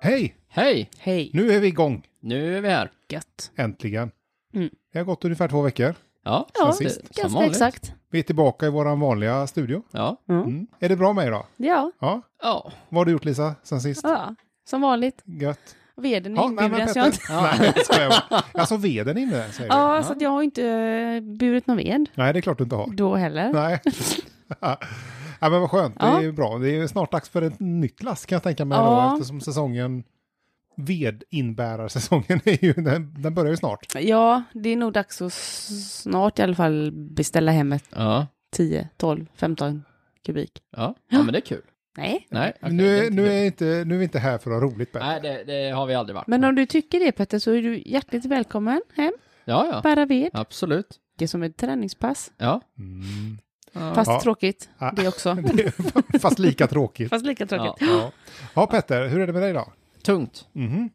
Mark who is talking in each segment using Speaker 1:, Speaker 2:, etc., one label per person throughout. Speaker 1: Hej!
Speaker 2: Hej!
Speaker 3: Hej.
Speaker 1: Nu är vi igång,
Speaker 2: Nu är vi här.
Speaker 3: Gött.
Speaker 1: äntligen.
Speaker 3: Mm.
Speaker 1: Det har gått ungefär två veckor.
Speaker 2: Ja,
Speaker 3: Ja,
Speaker 1: Sen sist.
Speaker 2: som
Speaker 3: ganska
Speaker 2: vanligt.
Speaker 3: exakt.
Speaker 1: Vi är tillbaka i vår vanliga studio.
Speaker 2: Ja.
Speaker 1: Mm. Är det bra med er då?
Speaker 3: Ja,
Speaker 1: Ja.
Speaker 2: Ja.
Speaker 1: Vad har du gjort Lisa, sen sist?
Speaker 3: ja. som vanligt.
Speaker 1: Gött.
Speaker 3: Veden är
Speaker 1: Ja, nej, men
Speaker 3: inburen så
Speaker 1: Petter.
Speaker 3: jag har inte...
Speaker 1: Nej, jag skojar bara. Alltså veden inne, säger du?
Speaker 3: Ja, så att jag har inte eh, burit någon ved
Speaker 1: Nej, det är klart du inte har.
Speaker 3: då heller.
Speaker 1: Nej. Ja, men vad skönt, det
Speaker 3: Ja.
Speaker 1: är bra. Det är snart dags för ett nytt lass kan jag tänka mig
Speaker 3: Ja.
Speaker 1: då, eftersom säsongen vedinbärarsäsongen är ju, den, den börjar ju snart.
Speaker 3: Ja, det är nog dags att s- snart i alla fall beställa hem ett
Speaker 2: Ja.
Speaker 3: 10, 12, 15 kubik.
Speaker 2: Ja. ja, men det är kul.
Speaker 3: Nej.
Speaker 2: Nej, okej,
Speaker 1: nu,
Speaker 2: det
Speaker 1: är,
Speaker 2: inte
Speaker 1: nu,
Speaker 2: kul.
Speaker 1: är inte, nu är vi inte här för att ha roligt Petter.
Speaker 2: Nej, det, det har vi aldrig varit.
Speaker 3: Men om du tycker det Petter så är du hjärtligt välkommen hem,
Speaker 2: Ja, ja.
Speaker 3: bära ved.
Speaker 2: Absolut.
Speaker 3: Det är som ett träningspass,
Speaker 2: Ja.
Speaker 1: Mm.
Speaker 3: fast
Speaker 1: Ja.
Speaker 3: tråkigt
Speaker 1: Ja.
Speaker 3: det också.
Speaker 1: Det är Fast lika tråkigt.
Speaker 3: Fast lika
Speaker 2: ja.
Speaker 3: tråkigt.
Speaker 1: Ja. ja, Petter, hur är det med dig då?
Speaker 2: Tungt.
Speaker 1: Mhm.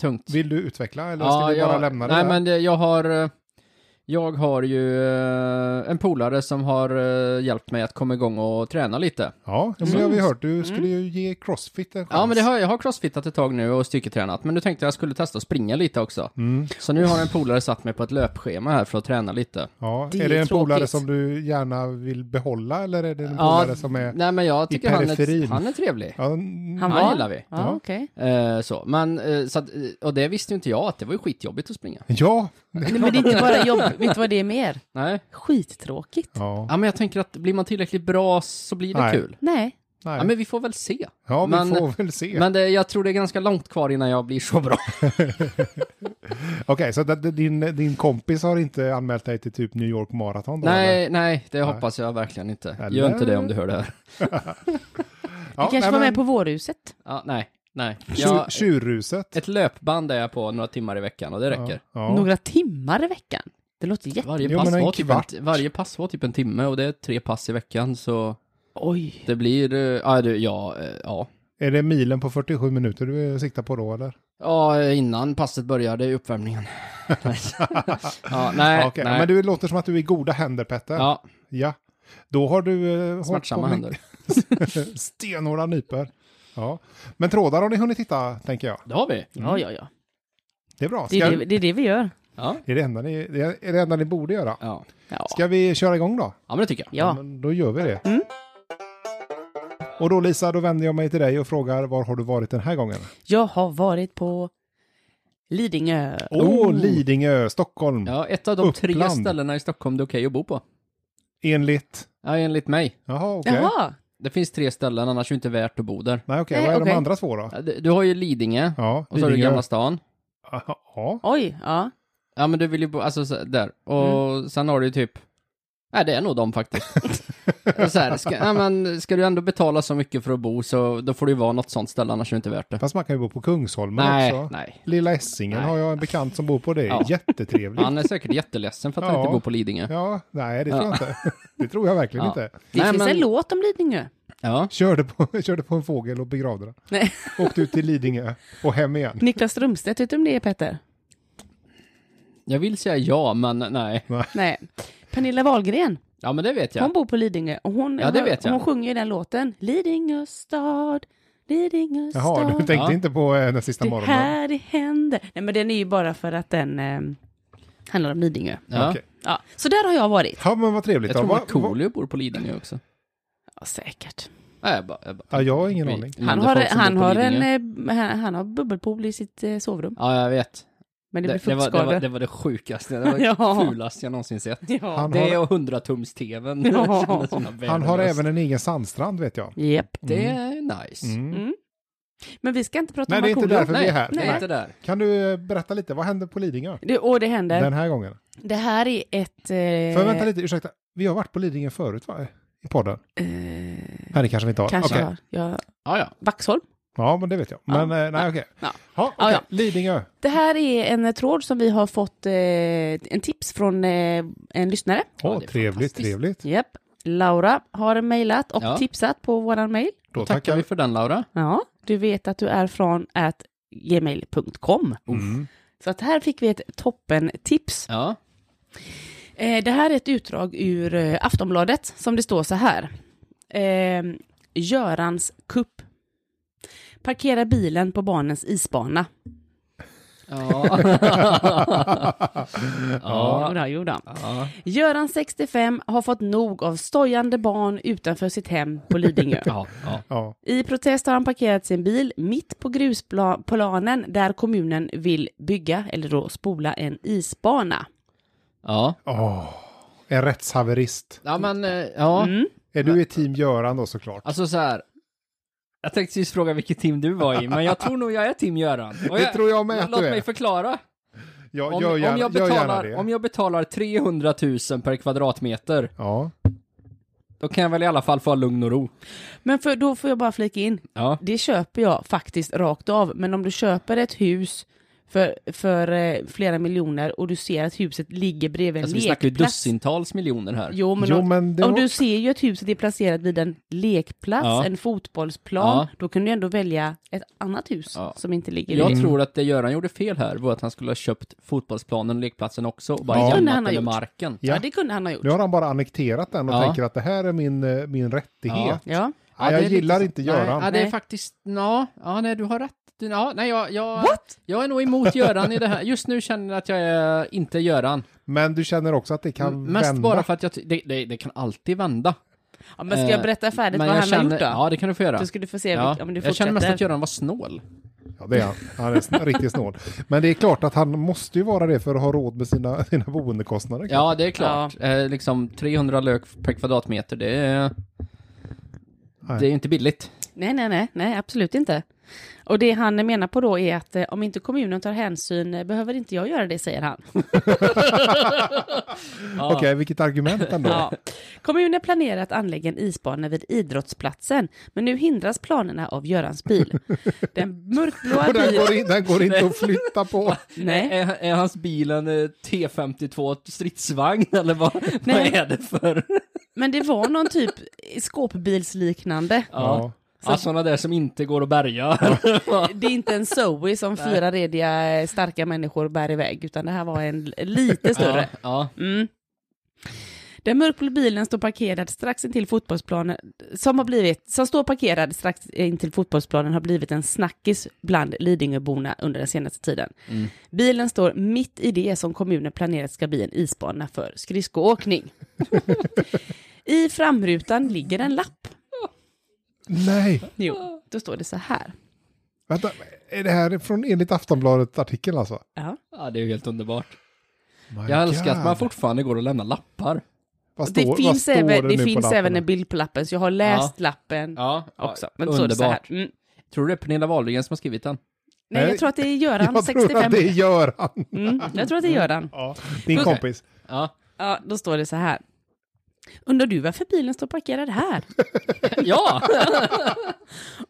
Speaker 2: Tungt.
Speaker 1: Vill du utveckla eller ska vi bara
Speaker 2: jag,
Speaker 1: lämna det
Speaker 2: nej,
Speaker 1: där?
Speaker 2: men det, jag har... eh, Jag har ju eh, en polare som har eh, hjälpt mig att komma igång och träna lite.
Speaker 1: Ja, men det har vi hört.
Speaker 3: Mm.
Speaker 1: Du skulle ju ge Crossfit en chans.
Speaker 2: Mm. Ja, men det har, jag har crossfitat ett tag nu och styrketränat, men nu tänkte jag skulle testa att springa lite också.
Speaker 1: Mm.
Speaker 2: Så nu har en polare satt mig på ett löpschema här för att träna lite.
Speaker 1: Ja.
Speaker 3: Det
Speaker 1: är det
Speaker 3: är
Speaker 1: en polare
Speaker 3: tråkigt.
Speaker 1: som du gärna vill behålla eller är det en
Speaker 2: Ja,
Speaker 1: polare som är...
Speaker 2: Nej, men jag tycker han är,
Speaker 1: periferin.
Speaker 2: han är trevlig.
Speaker 1: Ja, n-
Speaker 3: Han
Speaker 2: Han
Speaker 3: var?
Speaker 2: gillar vi.
Speaker 3: Ja, okej.
Speaker 2: Eh, så. Men, eh, så att, eh, och det visste ju inte jag, att det var ju skitjobbigt att springa.
Speaker 1: ja.
Speaker 3: Nej, Men det är inte bara jobb, vet du vad det är mer?
Speaker 2: Nej.
Speaker 3: Skittråkigt.
Speaker 1: ja.
Speaker 2: Ja, men jag tänker att blir man tillräckligt bra så blir det
Speaker 1: Nej.
Speaker 2: kul.
Speaker 3: Nej.
Speaker 2: Ja,
Speaker 1: Nej.
Speaker 2: men vi får väl se.
Speaker 1: ja, vi
Speaker 2: men-
Speaker 1: får väl se.
Speaker 2: Men det, jag tror det är ganska långt kvar innan jag blir så bra.
Speaker 1: Okej, så att din, din kompis har inte anmält dig till typ New York Marathon? Då, eller?
Speaker 2: nej, nej, det hoppas jag verkligen inte. Gör
Speaker 1: Eller?
Speaker 2: inte det om du hör det här.
Speaker 1: Ja,
Speaker 3: du kanske
Speaker 1: nej,
Speaker 3: var
Speaker 1: men-
Speaker 3: med på vårhuset?
Speaker 2: Ja, nej, nej.
Speaker 1: Tju-
Speaker 2: Jag,
Speaker 1: Tjurruset.
Speaker 2: ett löpband är jag på några timmar i veckan och det räcker.
Speaker 1: Ja.
Speaker 3: Några timmar i veckan? Det låter jätte...
Speaker 2: Varje,
Speaker 1: Jo,
Speaker 2: pass
Speaker 1: men en
Speaker 2: var typ
Speaker 1: kvart.
Speaker 2: en, varje pass var typ en timme och det är tre pass i veckan så
Speaker 3: Oj.
Speaker 2: det blir, eh, ja, du, ja, eh, ja.
Speaker 1: Är det milen på 47 minuter du siktar på då eller?
Speaker 2: Ja, innan passet började i uppvärmningen. ja, nej,
Speaker 1: Okej,
Speaker 2: nej.
Speaker 1: Men du låter som att du är i goda händer Petter. Ja.
Speaker 2: ja,
Speaker 1: Då har du eh, hållit
Speaker 2: smärtsamma
Speaker 1: på med
Speaker 2: händer.
Speaker 1: stenhårda nyper. Ja. Men trådar har ni hunnit titta tänker jag.
Speaker 2: Det har vi.
Speaker 3: Ja, ja, ja.
Speaker 1: Det är bra. Ska,
Speaker 3: Det är det, det är det vi gör.
Speaker 2: Ja.
Speaker 1: det, är det, enda ni, det är det enda ni borde göra.
Speaker 2: Ja.
Speaker 3: Ja.
Speaker 1: Ska vi köra igång då?
Speaker 2: ja, Mm. men det tycker jag.
Speaker 3: ja.
Speaker 1: Men då gör vi det. Och då Lisa, då vänder jag mig till dig och frågar var har du varit den här gången?
Speaker 3: Jag har varit på Lidingö.
Speaker 1: Åh, Oh, Lidingö, Stockholm.
Speaker 2: Oh. Ja, ett av de tre
Speaker 1: Uppland.
Speaker 2: ställena i Stockholm det är okej att bo på.
Speaker 1: Enligt...
Speaker 2: Ja, enligt mig.
Speaker 1: Jaha, okej.
Speaker 3: Jaha.
Speaker 2: Det finns tre ställen, annars är det inte värt att bo där.
Speaker 1: Nej, okej.
Speaker 3: Nej,
Speaker 1: Vad är de
Speaker 3: okej.
Speaker 1: andra två då?
Speaker 2: Ja, Du du har ju Lidingö,
Speaker 1: Ja,
Speaker 2: och så har du Gamla stan.
Speaker 1: Ja.
Speaker 3: Oj, ja.
Speaker 2: Ja, men du vill ju bo, alltså så- där. Och
Speaker 1: Mm.
Speaker 2: sen har du ju typ, nej det är nog de faktiskt. så här, ska, ja, men, ska du ändå betala så mycket för att bo så då får det ju vara något sånt ställe, annars är det inte värt det.
Speaker 1: Fast man kan ju bo på Kungsholmen
Speaker 2: nej,
Speaker 1: också.
Speaker 2: nej.
Speaker 1: Lilla Essingen
Speaker 2: Nej.
Speaker 1: har jag en bekant som bor på det.
Speaker 2: Ja.
Speaker 1: Jättetrevligt.
Speaker 2: Han är säkert jätteledsen för att han
Speaker 1: Ja.
Speaker 2: inte bor på Lidingö.
Speaker 1: Ja, nej det tror jag inte. Det tror jag verkligen
Speaker 2: Ja.
Speaker 1: inte.
Speaker 3: Det
Speaker 2: Nej,
Speaker 3: finns
Speaker 2: men-
Speaker 3: en låt om Lidingö.
Speaker 2: Ja.
Speaker 1: Körde på, körde på en fågel och begravde den.
Speaker 3: Nej.
Speaker 1: Åkte ut till Lidingö och hem igen.
Speaker 3: Niklas Strömstedt, vet du om det är Petter?
Speaker 2: Jag vill säga ja, men nej.
Speaker 3: Nej. Pernilla Wahlgren,
Speaker 2: Ja, men det vet jag.
Speaker 3: hon bor på Lidingö och hon,
Speaker 2: Ja, det vet jag.
Speaker 3: hon sjunger ju den låten. Lidingö stad, Lidingö stad.
Speaker 1: Jaha, du tänkte
Speaker 2: Ja.
Speaker 1: inte på eh, den sista
Speaker 3: Det är
Speaker 1: morgonen?
Speaker 3: här det händer. Nej, men den är ju bara för att den eh, handlar om Lidingö.
Speaker 2: Ja.
Speaker 1: Okej.
Speaker 3: Ja, så där har jag varit.
Speaker 1: Ja, men vad trevligt.
Speaker 2: Jag
Speaker 1: då.
Speaker 2: tror
Speaker 1: Va- va-
Speaker 2: Markoolio bor på Lidingö också.
Speaker 3: Ja, säkert.
Speaker 2: Nej, jag bara, jag bara,
Speaker 1: Ja, jag har ingen aning.
Speaker 2: Vi-
Speaker 3: Han
Speaker 2: mindre
Speaker 3: har,
Speaker 2: folk som
Speaker 3: han,
Speaker 2: bor på
Speaker 3: har en,
Speaker 2: Lidingö.
Speaker 3: eh, han, han har bubbelpool i sitt eh, sovrum.
Speaker 2: Ja, jag vet.
Speaker 3: Men det,
Speaker 2: Det,
Speaker 3: blir
Speaker 2: det, var, det, var,
Speaker 3: fuktskador.
Speaker 2: det var det sjukaste, det var
Speaker 3: Ja.
Speaker 2: det fulaste jag någonsin sett.
Speaker 3: Ja.
Speaker 1: Han
Speaker 2: Det
Speaker 1: har,
Speaker 2: och 100-tums-tvn.
Speaker 3: Ja.
Speaker 1: han har även en egen sandstrand vet jag.
Speaker 3: Japp.
Speaker 2: Det är nice.
Speaker 1: Mm.
Speaker 3: Mm. Men vi ska inte prata
Speaker 1: Nej,
Speaker 3: om
Speaker 1: det är inte
Speaker 3: Markoolio.
Speaker 1: därför vi är här.
Speaker 2: Nej,
Speaker 3: Nej.
Speaker 2: inte där.
Speaker 1: Kan du eh, berätta lite, vad hände på Lidingö
Speaker 3: Det, och det händer.
Speaker 1: den här gången?
Speaker 3: Det här är ett... Eh,
Speaker 1: För vänta lite, ursäkta. Vi har varit på Lidingö förut va? I podden?
Speaker 3: Eh,
Speaker 1: Nej, det kanske vi inte har.
Speaker 3: kanske
Speaker 1: Okej.
Speaker 3: var. Ja,
Speaker 2: Ja, ja.
Speaker 3: Vaxholm.
Speaker 1: Ja, men det vet jag. Men eh, nej, okej.
Speaker 3: Ja.
Speaker 1: Ja,
Speaker 3: Ja,
Speaker 1: okej.
Speaker 3: ja.
Speaker 1: Lidingö.
Speaker 3: Det här är en eh, tråd som vi har fått eh, en tips från eh, en lyssnare.
Speaker 1: Åh,
Speaker 2: Ja, det är
Speaker 1: trevligt,
Speaker 2: fantastiskt.
Speaker 1: trevligt.
Speaker 3: Japp. Laura har mejlat och
Speaker 2: Ja.
Speaker 3: tipsat på våran mejl.
Speaker 1: Då
Speaker 2: Tackar, vi för den, Laura.
Speaker 3: Ja, du vet att du är från at gmail.com.
Speaker 1: Mm.
Speaker 3: Så att här fick vi ett toppen tips.
Speaker 2: Ja.
Speaker 3: Eh, det här är ett utdrag ur eh, Aftonbladet Ehm, som det står så här. Eh, Görans kupp. Parkera bilen på barnens isbana.
Speaker 2: Ja.
Speaker 3: Ja.
Speaker 2: ja.
Speaker 3: Jodå, jodå.
Speaker 2: Ja.
Speaker 3: Göran 65 har fått nog av stojande barn utanför sitt hem på Lidingö.
Speaker 2: Ja. ja.
Speaker 1: Ja.
Speaker 3: I protest har han parkerat sin bil mitt på grusplanen där kommunen vill bygga, eller då spola, en isbana.
Speaker 2: ja.
Speaker 1: Åh, en rättshaverist.
Speaker 2: Ja men, eh, ja.
Speaker 3: Mm.
Speaker 1: Är du i team Göran då såklart?
Speaker 2: Alltså så här. Jag tänkte precis fråga vilket team du var i, men jag tror nog jag är team Göran. Och
Speaker 1: Det
Speaker 2: jag,
Speaker 1: tror jag med att
Speaker 2: Låt
Speaker 1: du är.
Speaker 2: mig förklara.
Speaker 1: Ja,
Speaker 2: Om,
Speaker 1: gör,
Speaker 2: om,
Speaker 1: gärna,
Speaker 2: jag
Speaker 1: gör gärna det.
Speaker 2: betalar, om jag betalar 300 000 per kvadratmeter,
Speaker 1: Ja.
Speaker 2: då kan jag väl i alla fall få ha lugn och ro.
Speaker 3: Men för, då får jag bara flika in,
Speaker 2: Ja. Alltså,
Speaker 3: det köper jag faktiskt rakt av, men om du köper ett hus för, för eh, flera miljoner och du ser att huset ligger bredvid en
Speaker 2: Alltså, vi
Speaker 3: lekplats.
Speaker 2: snackar ju dussintals miljoner här.
Speaker 3: Jo, men,
Speaker 1: Jo,
Speaker 3: om,
Speaker 1: men det
Speaker 3: om
Speaker 1: var-
Speaker 3: du ser ju att huset är placerat vid en lekplats,
Speaker 2: Ja.
Speaker 3: en fotbollsplan,
Speaker 2: Ja.
Speaker 3: då kan du ändå välja ett annat hus
Speaker 2: Ja.
Speaker 3: som inte ligger
Speaker 2: Jag
Speaker 3: vid.
Speaker 2: tror att det Göran gjorde fel här var att han skulle ha köpt fotbollsplanen och lekplatsen också och bara
Speaker 1: Ja.
Speaker 3: Det kunde han
Speaker 2: jämnat
Speaker 3: ha
Speaker 2: den med
Speaker 3: gjort.
Speaker 2: marken.
Speaker 1: Ja.
Speaker 3: Ja, det kunde han ha gjort.
Speaker 1: Nu har han bara annekterat den och
Speaker 2: Ja.
Speaker 1: tänker att det här är min, eh, min rättighet.
Speaker 3: Ja.
Speaker 1: Nej, jag
Speaker 2: det är lite
Speaker 1: gillar
Speaker 2: så-
Speaker 1: inte
Speaker 2: Nej,
Speaker 1: Göran.
Speaker 2: ja, det är
Speaker 3: Nej.
Speaker 2: faktiskt, ja, ja nej, du har rätt. Du, ja, nej, jag, jag,
Speaker 3: What?
Speaker 2: jag är nog emot Göran i det här. Just nu känner jag att jag är inte Göran.
Speaker 1: Men du känner också att det kan
Speaker 2: M- Mm, Mest
Speaker 1: vända.
Speaker 2: bara för att jag, ty- det, det, det kan alltid vända.
Speaker 3: Ja, men ska jag
Speaker 2: Eh,
Speaker 3: berätta färdigt
Speaker 2: Men
Speaker 3: vad
Speaker 2: jag
Speaker 3: han
Speaker 2: känner,
Speaker 3: har gjort då?
Speaker 2: Ja, det kan du få göra.
Speaker 3: Då ska du få se
Speaker 2: ja,
Speaker 3: vilk- om du
Speaker 2: jag känner mest
Speaker 3: fortsätter.
Speaker 2: att Göran var snål.
Speaker 1: Ja, det är han. Han är sn- riktigt snål. Men det är klart att han måste ju vara det för att ha råd med sina, sina boendekostnader.
Speaker 2: Ja, det är klart. Eh, liksom 300 lök per kvadratmeter, det är...
Speaker 1: Nej.
Speaker 2: Det är ju inte billigt.
Speaker 3: Nej, nej, nej, nej, absolut inte. Och det han menar på då är att eh, om inte kommunen tar hänsyn eh, behöver inte jag göra det, säger han.
Speaker 1: Okej, vilket argument ändå.
Speaker 3: Ja. Kommunen planerar att anlägga en isbana vid idrottsplatsen, men nu hindras planerna av Görans bil. Den mörkblåa
Speaker 1: Och den
Speaker 3: bilen...
Speaker 1: går, in, den går inte att flytta på.
Speaker 3: Nej.
Speaker 2: Är, är hans bil en eh, T52 stridsvagn eller vad,
Speaker 3: Nej.
Speaker 2: vad är det för?
Speaker 3: Men det var någon typ skåpbilsliknande.
Speaker 1: Ja.
Speaker 2: Ja, sådana där som inte går att bärga.
Speaker 3: Det är inte en Zoe som fyra rediga eh, starka människor bär iväg, utan det här var en l- lite större.
Speaker 2: Ja, ja.
Speaker 3: Mm. Den mörkblå bilen står parkerad strax intill fotbollsplanen, som har blivit, som står parkerad strax intill fotbollsplanen har blivit en snackis bland Lidingöborna under den senaste tiden.
Speaker 1: Mm.
Speaker 3: Bilen står mitt i det som kommunen planerat ska bli en isbana för skridskoåkning. I framrutan ligger en lapp.
Speaker 1: Nej,
Speaker 3: Jo, då står det så här.
Speaker 1: vänta. Är det här från enligt Aftonbladet-artikeln alltså?
Speaker 3: Ja.
Speaker 2: ja, det är ju helt underbart.
Speaker 1: My
Speaker 2: Jag älskar
Speaker 1: God.
Speaker 2: att man fortfarande går och lämnar lappar.
Speaker 1: Vad
Speaker 3: Det
Speaker 1: står- vad
Speaker 3: finns,
Speaker 1: står
Speaker 3: även, det
Speaker 1: nu på
Speaker 3: finns
Speaker 1: lapparna?
Speaker 3: även en bild på lappen, så jag har läst lappen
Speaker 2: Ja,
Speaker 3: också. Men så är det så här.
Speaker 2: underbart.
Speaker 3: Mm.
Speaker 2: Tror du det är Pernilla Wahlgren som har skrivit den?
Speaker 3: Nej,
Speaker 1: Nej,
Speaker 3: jag tror att det är Göran,
Speaker 1: Jag
Speaker 3: 65.
Speaker 1: tror att det gör han.
Speaker 3: Mm, jag tror att det gör den.
Speaker 1: Ja, din
Speaker 2: Okej.
Speaker 1: kompis.
Speaker 2: Ja,
Speaker 3: Ja, då står det så här. Undrar du varför bilen står parkerad här?
Speaker 2: ja.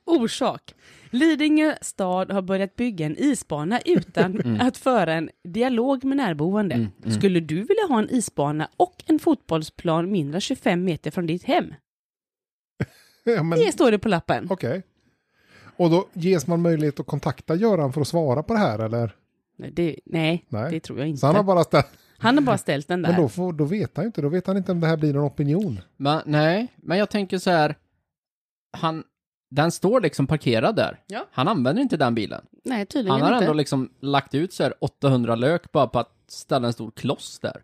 Speaker 3: Orsak. Lidingö stad har börjat bygga en isbana utan
Speaker 1: Mm.
Speaker 3: att föra en dialog med närboende. Skulle du vilja ha en isbana och en fotbollsplan mindre än 25 meter från ditt hem?
Speaker 1: Ja, men,
Speaker 3: Det står det på lappen.
Speaker 1: Okej. Och då ges man möjlighet att kontakta Göran för att svara på det här eller?
Speaker 3: Nej, det, nej,
Speaker 1: Nej.
Speaker 3: det tror jag
Speaker 1: Så han har
Speaker 3: inte.
Speaker 1: bara ställt.
Speaker 3: Han har bara ställt den
Speaker 1: Men då,
Speaker 3: där.
Speaker 1: får, då vet han ju inte. Då vet han inte om det här blir någon opinion.
Speaker 2: Men, nej, men jag tänker så här. Han, den står liksom parkerad där.
Speaker 3: Ja.
Speaker 2: Han använder inte den bilen.
Speaker 3: Nej,
Speaker 2: Han
Speaker 3: tydligen
Speaker 2: har ändå
Speaker 3: inte.
Speaker 2: liksom lagt ut så här 800 lök bara på att ställa en stor kloss där.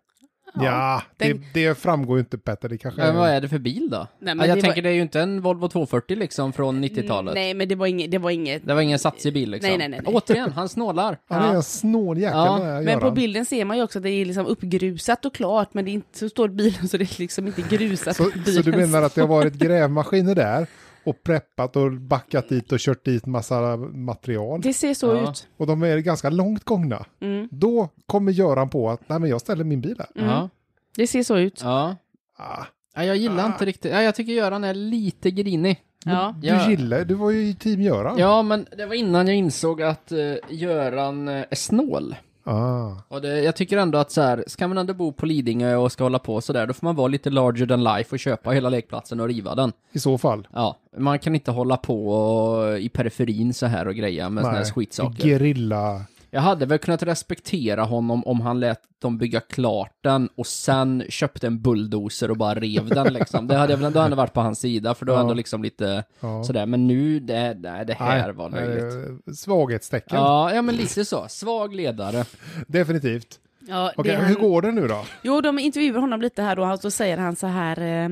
Speaker 1: Ja, det,
Speaker 3: tänk-
Speaker 1: det framgår ju inte Petter. Det kanske
Speaker 2: Men vad
Speaker 1: är...
Speaker 2: är det för bil då?
Speaker 3: men
Speaker 2: ja, jag
Speaker 3: det var-
Speaker 2: tänker det är ju inte en Volvo 240 liksom från 90-talet.
Speaker 3: Nej, men det var inget. Det var inget.
Speaker 2: Det var ingen satsig bil liksom.
Speaker 3: Nej, nej, nej, nej.
Speaker 2: Återigen, han snålar.
Speaker 1: Han är
Speaker 3: Ja.
Speaker 1: en snål jäkel
Speaker 2: Ja,
Speaker 1: den här
Speaker 3: Men på
Speaker 1: Göran.
Speaker 3: bilden ser man ju också att det är liksom uppgrusat och klart, men det är inte, så står bilen så det är liksom inte grusat.
Speaker 1: Så,
Speaker 3: på
Speaker 1: så du
Speaker 3: bilen.
Speaker 1: menar att det har varit grävmaskiner där och preppat och backat dit och kört dit massa material.
Speaker 3: Det Mm. ser så
Speaker 2: Ja.
Speaker 3: ut.
Speaker 1: Och de är ganska långt gångna. Då kommer Göran på att nej men jag ställer min bil här.
Speaker 3: Mm.
Speaker 2: Ja,
Speaker 3: Det ser så ut.
Speaker 2: ja.
Speaker 1: Ah,
Speaker 2: ja. Jag gillar inte riktigt. Ja, jag tycker Göran är lite grinig.
Speaker 3: Ja.
Speaker 1: du
Speaker 2: Jag-
Speaker 1: gillar, du var ju i team Göran.
Speaker 2: Ja, men det var innan jag insåg att eh, Göran eh, är snål.
Speaker 1: Ah.
Speaker 2: Och det, jag tycker ändå att så här, ska man ändå bo på Lidingö och ska hålla på så där, då får man vara lite larger than life och köpa hela lekplatsen och riva den.
Speaker 1: I så fall.
Speaker 2: Ja, man kan inte hålla på och, i periferin så här och greja med såna här
Speaker 1: Nej.
Speaker 2: skitsaker.
Speaker 1: Gerilla.
Speaker 2: Jag hade väl kunnat respektera honom om han lät dem bygga klart den och sen köpte en bulldozer och bara rev den liksom. Det hade jag väl ändå ändå varit på hans sida, för då är
Speaker 1: Ja.
Speaker 2: ändå liksom lite
Speaker 1: Ja.
Speaker 2: sådär. Men nu, det, nej, det här
Speaker 1: Nej,
Speaker 2: var löjligt.
Speaker 1: eh, Svaghetstecken,
Speaker 2: Ja, ja, men lite så. Svag ledare.
Speaker 1: definitivt.
Speaker 3: Ja,
Speaker 1: Okej,
Speaker 3: det-
Speaker 1: hur går det nu då?
Speaker 3: Jo, de intervjuar honom lite här då, och så säger han så här. Eh,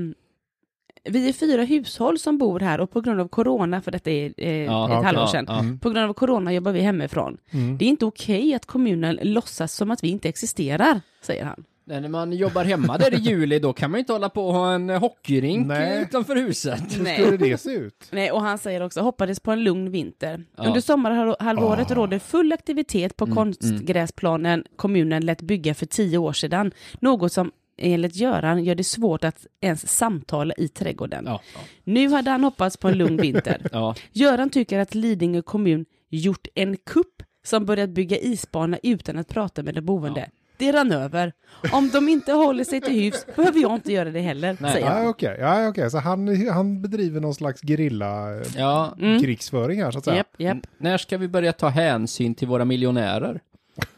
Speaker 3: vi är fyra hushåll som bor här och på grund av corona, för detta är eh,
Speaker 2: Ja,
Speaker 3: ett
Speaker 1: okej.
Speaker 3: halvår sedan,
Speaker 2: Ja,
Speaker 1: Mm.
Speaker 3: på grund av corona jobbar vi hemifrån.
Speaker 1: Mm.
Speaker 3: Det är inte okej att kommunen låtsas som att vi inte existerar, säger han.
Speaker 2: Nej, När man jobbar hemma där i juli, då kan man ju inte hålla på och ha en eh, hockeyrink
Speaker 1: Nej.
Speaker 2: eh, utanför huset.
Speaker 1: Hur skulle det se ut?
Speaker 3: Nej, och han säger också, hoppades på en lugn vinter.
Speaker 2: Ja. Ah. Mm,
Speaker 3: Under sommarhalvåret råder full aktivitet på konstgräsplanen kommunen lät bygga för tio år sedan. Något som enligt Göran gör det svårt att ens samtala i trädgården.
Speaker 2: Ja,
Speaker 3: Nu hade han hoppats på en lugn vinter.
Speaker 2: ja.
Speaker 3: Göran tycker att Lidingö kommun gjort en kupp som börjat bygga isbana utan att prata med de boende. Det rann över. Om de inte håller sig till hyfs behöver jag inte göra det heller,
Speaker 2: Nej.
Speaker 3: säger han.
Speaker 1: Ja, okej. Ja, okej. Så han, han bedriver någon slags gerilla eh,
Speaker 2: ja.
Speaker 1: krigsföring här så att säga.
Speaker 3: Mm. Japp, japp.
Speaker 2: N- När ska vi börja ta hänsyn till våra miljonärer?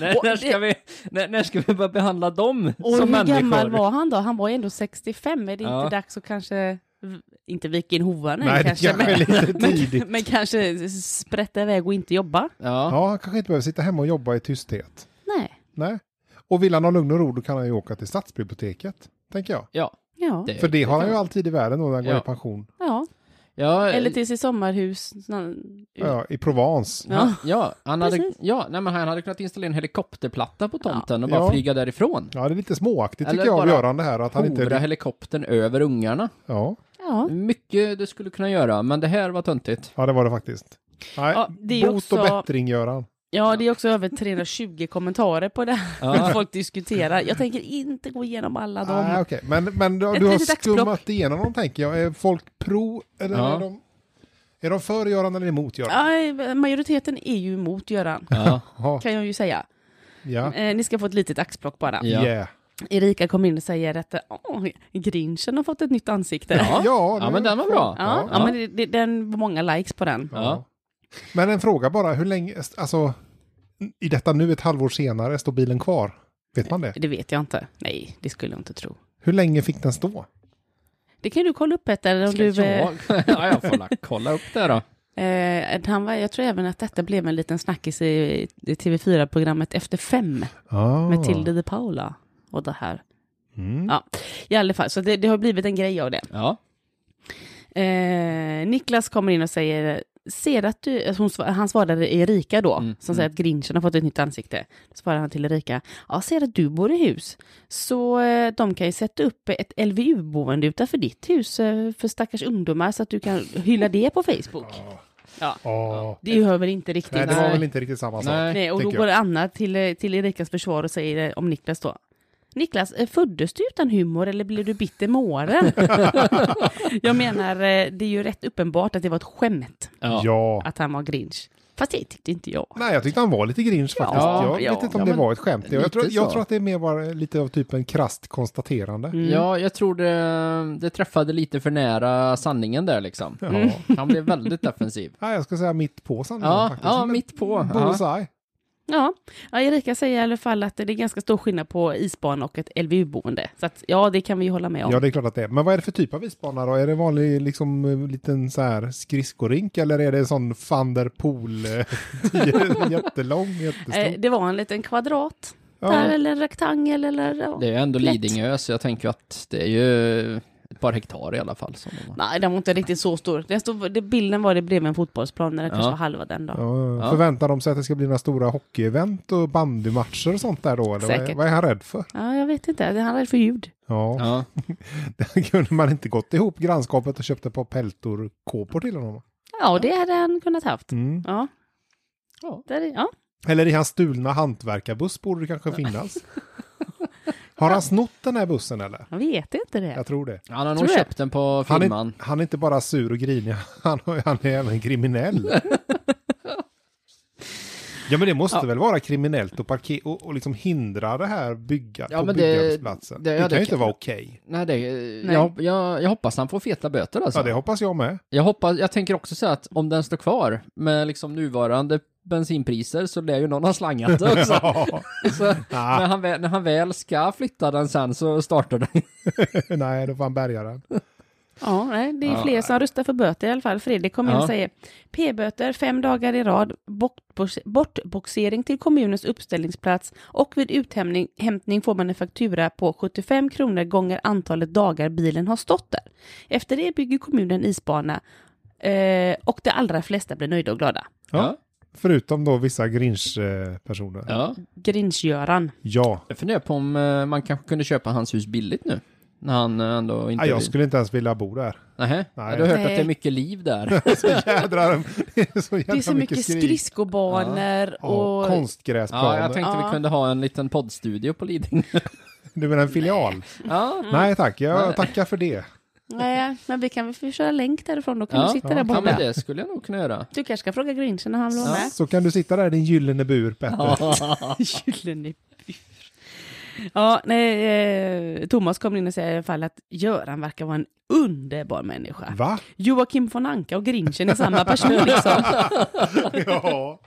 Speaker 2: när, när, ska vi, när, när ska vi börja behandla dem
Speaker 3: Och hur
Speaker 2: som människor?
Speaker 3: gammal var han då? Han var ju ändå 65. Är det
Speaker 2: Ja.
Speaker 3: inte dags att kanske, v- inte vika in hovarna
Speaker 1: Nej,
Speaker 3: kanske,
Speaker 1: det kanske är lite tidigt.
Speaker 3: men, men kanske sprätta iväg och inte jobba?
Speaker 2: Ja.
Speaker 1: Ja, han kanske inte behöver sitta hemma och jobba i tysthet.
Speaker 3: Nej.
Speaker 1: Nej. Och vill han ha lugn och ro då kan han ju åka till stadsbiblioteket, tänker jag.
Speaker 2: Ja,
Speaker 3: Ja.
Speaker 2: det,
Speaker 1: För det har han ju alltid i världen då när han går
Speaker 2: Ja.
Speaker 1: i pension.
Speaker 3: ja.
Speaker 2: Ja,
Speaker 3: Eller till sitt sommarhus. någon-
Speaker 1: Ja, I Provence.
Speaker 3: Ja.
Speaker 2: ja, han hade,
Speaker 3: Precis.
Speaker 2: ja nej, men han hade kunnat installera en helikopterplatta på tomten och bara
Speaker 1: Ja.
Speaker 2: flyga därifrån.
Speaker 1: Ja, det är lite småaktigt
Speaker 2: Eller
Speaker 1: tycker jag av
Speaker 2: bara
Speaker 1: Göran det här. Att han
Speaker 2: Hovra
Speaker 1: inte...
Speaker 2: helikoptern över ungarna.
Speaker 1: Ja.
Speaker 3: ja.
Speaker 2: Mycket du skulle kunna göra, men det här var töntigt.
Speaker 1: ja, det var det faktiskt. Nej,
Speaker 3: Ja, det är
Speaker 1: bot och
Speaker 3: också-
Speaker 1: bättring Göran.
Speaker 3: Ja, det är också över 320 kommentarer på det här.
Speaker 2: Ja.
Speaker 3: Folk diskuterar. Jag tänker inte gå igenom alla dem.
Speaker 1: Nej, Ah, okej. Men, men du,
Speaker 3: Ett
Speaker 1: du har
Speaker 3: litet axplock.
Speaker 1: skummat igenom dem tänker jag. Är folk pro eller
Speaker 2: Ja.
Speaker 1: är, de, är de för Göran eller emot Göran?
Speaker 3: Aj, eh, majoriteten är ju emot Göran,
Speaker 2: Ja,
Speaker 1: Ja.
Speaker 3: kan jag ju säga.
Speaker 1: Ja.
Speaker 3: Eh, ni ska få ett litet axplock bara.
Speaker 2: Ja.
Speaker 1: Yeah.
Speaker 3: Erika kom in och säger att åh, Grinchen har fått ett nytt ansikte. Ja,
Speaker 1: Ja,
Speaker 2: ja men den var bra.
Speaker 3: ja,
Speaker 2: Ja.
Speaker 3: men det, det, den var många likes på den.
Speaker 2: Ja.
Speaker 1: Men en fråga bara, hur länge, alltså, i detta nu ett halvår senare, står bilen kvar? Vet man det?
Speaker 3: Det vet jag inte. Nej, det skulle jag inte tro.
Speaker 1: Hur länge fick den stå?
Speaker 3: Det kan du kolla upp Petter. Om
Speaker 2: Ska
Speaker 3: du, eh,
Speaker 2: jag? ja, jag får la- kolla upp det då.
Speaker 3: eh, att han var, jag tror även att detta blev en liten snackis i, i TV4-programmet Efter fem
Speaker 1: Ah.
Speaker 3: med Tilde de Paula och det här.
Speaker 1: Mm.
Speaker 3: Ja, i alla fall. Så det, det har blivit en grej av det.
Speaker 2: Ja.
Speaker 3: Eh, Niklas kommer in och säger, ser att du, alltså hon, sva- han svarade Erika då,
Speaker 2: Mm,
Speaker 3: som säger att grinchen har fått ett nytt ansikte. Då svarar han till Erika, ja, ser att du bor i hus, så eh, de kan ju sätta upp ett LVU-boende utanför ditt hus eh, för stackars ungdomar så att du kan hylla det på Facebook.
Speaker 1: Ah.
Speaker 3: Det hör väl inte riktigt.
Speaker 1: Nej, det var
Speaker 2: Nej.
Speaker 1: väl inte riktigt samma sak.
Speaker 2: Nej.
Speaker 3: Nej, och då
Speaker 1: tänker
Speaker 3: går Anna till, eh, till Erikas försvar och säger eh, om Niklas då. Niklas, eh, föddes du utan humor eller blev du bitter med åren? jag menar, eh, det är ju rätt uppenbart att det var ett skämt
Speaker 1: Ja.
Speaker 2: Ja.
Speaker 3: att han var Grinch. Fast det tyckte inte jag.
Speaker 1: Nej, jag tyckte han var lite grinch faktiskt.
Speaker 2: Ja,
Speaker 1: jag
Speaker 3: ja.
Speaker 1: vet inte
Speaker 2: Ja,
Speaker 1: om det
Speaker 2: men
Speaker 1: var ett skämt. Jag
Speaker 2: lite
Speaker 1: tror, jag
Speaker 2: så.
Speaker 1: tror att det är mer bara lite av typen krasst konstaterande.
Speaker 3: Mm.
Speaker 2: Ja, jag tror det, det träffade lite för nära sanningen där liksom.
Speaker 1: Ja.
Speaker 3: Mm.
Speaker 2: Han blev väldigt defensiv.
Speaker 1: Nej, jag ska säga mitt på sanningen
Speaker 2: Ja,
Speaker 1: faktiskt.
Speaker 2: ja
Speaker 1: Men
Speaker 2: mitt på. Ja.
Speaker 1: Bullseye.
Speaker 3: Ja. ja, Erika säger i alla fall att det är ganska stor skillnad på isbana och ett LVU-boende. Så att, ja, det kan vi ju hålla med om.
Speaker 1: Ja, det är klart att det är. Men vad är det för typ av isbana då? Är det vanlig liksom eh, liten så här skridskorink eller är det en sån van der Poel eh, tio- jättelång, jättestor?
Speaker 3: Eh, det var en liten kvadrat där,
Speaker 1: ja.
Speaker 3: eller en rektangel eller... Ja.
Speaker 2: Det är ju ändå
Speaker 3: Plätt.
Speaker 2: Lidingö, så jag tänker att det är ju ett par hektar i alla fall. Som de har.
Speaker 3: Nej, den var inte riktigt så stor. Den stod, det, bilden var det bredvid en fotbollsplan, men den
Speaker 2: Ja.
Speaker 3: kanske var halva den då.
Speaker 1: Ja,
Speaker 2: Ja.
Speaker 1: Förväntar de sig att det ska bli några stora hockeyevent och bandymatcher och sånt där då? Eller vad, är,
Speaker 3: Säkert.
Speaker 1: vad är han rädd för?
Speaker 3: Ja, jag vet inte. Det handlar för ljud.
Speaker 1: Ja,
Speaker 2: Ja.
Speaker 1: kunde man inte gått ihop grannskapet och köpt ett par peltor-kåpor till honom?
Speaker 3: Ja, det hade han kunnat haft.
Speaker 1: Mm.
Speaker 3: Ja.
Speaker 2: Ja.
Speaker 3: Där, är- ja.
Speaker 1: Eller i hans stulna hantverkarbuss borde det kanske finnas. Har han snott den här bussen eller?
Speaker 3: Jag vet inte det.
Speaker 1: Jag tror det.
Speaker 2: Han har
Speaker 3: Tror
Speaker 2: nog
Speaker 3: jag.
Speaker 2: köpt den på
Speaker 1: Han
Speaker 2: firman.
Speaker 1: är, han är inte bara sur och grinig, han, han är även kriminell. Ja men det måste väl vara kriminellt att parke- och, och liksom hindra det här bygga,
Speaker 2: Ja,
Speaker 1: på
Speaker 2: men det-
Speaker 1: byggarbetsplatsen.
Speaker 2: det-
Speaker 1: Det,
Speaker 2: ja,
Speaker 1: kan
Speaker 2: det
Speaker 1: ju inte
Speaker 2: kan-
Speaker 1: vara okej.
Speaker 2: Nej, det,
Speaker 3: Nej.
Speaker 2: Jag, jag, jag hoppas han får feta böter alltså.
Speaker 1: Ja det hoppas jag med.
Speaker 2: jag, hoppas, jag tänker också säga att om den står kvar med liksom nuvarande bensinpriser så lär ju någon ha slangat det också.
Speaker 1: Ja.
Speaker 2: så när, han väl, när han väl ska flytta den sen så startar den.
Speaker 1: Nej, då får han bärga den.
Speaker 3: Ja, nej, det är
Speaker 2: Ja.
Speaker 3: fler som röstar för böter i alla fall. Fredrik kommer in
Speaker 2: Ja.
Speaker 3: och säger P-böter fem dagar i rad, bortbox- bortboxering till kommunens uppställningsplats och vid uthämtning hämtning får man en faktura på 75 kronor gånger antalet dagar bilen har stått där. Efter det bygger kommunen isbana eh, och de allra flesta blir nöjda och glada.
Speaker 1: Ja. Förutom då vissa Grinch-personer. Ja.
Speaker 2: ja.
Speaker 3: Grinch-Göran.
Speaker 1: Ja.
Speaker 2: Jag funderar på om eh, man kanske kunde köpa hans hus billigt nu. När han eh, ändå inte...
Speaker 1: Nej, jag skulle inte ens vilja bo där.
Speaker 2: Nähä?
Speaker 1: Nej.
Speaker 2: Du har hört att
Speaker 3: Nej.
Speaker 2: det är mycket liv där.
Speaker 1: Så jädrar, det är så jädra
Speaker 3: Det är så mycket
Speaker 1: skrik.
Speaker 3: skridskobanor
Speaker 1: Ja,
Speaker 3: och...
Speaker 2: ja,
Speaker 1: konstgräsplaner.
Speaker 2: jag tänkte
Speaker 3: Ja.
Speaker 2: vi kunde ha en liten poddstudio på Lidingö.
Speaker 1: Du menar en filial?
Speaker 2: ja.
Speaker 1: Nej tack, jag
Speaker 2: Nej.
Speaker 1: tackar för det.
Speaker 3: Nej, men vi kan väl köra länk därifrån, då kan
Speaker 2: Ja.
Speaker 3: du sitta
Speaker 1: Ja,
Speaker 3: där
Speaker 1: kan
Speaker 2: ja,
Speaker 3: borta.
Speaker 2: men det skulle jag nog kunna göra.
Speaker 3: Du kanske ska fråga Grinchen när han vill vara med?
Speaker 1: Så kan du sitta där i din gyllene bur, Petter.
Speaker 3: Gyllene bur. Ja, nej, eh, Thomas kommer in och säger i alla fall att Göran verkar vara en underbar människa.
Speaker 1: Va?
Speaker 3: Joakim von Anka och Grinchen är samma person liksom.
Speaker 1: ja.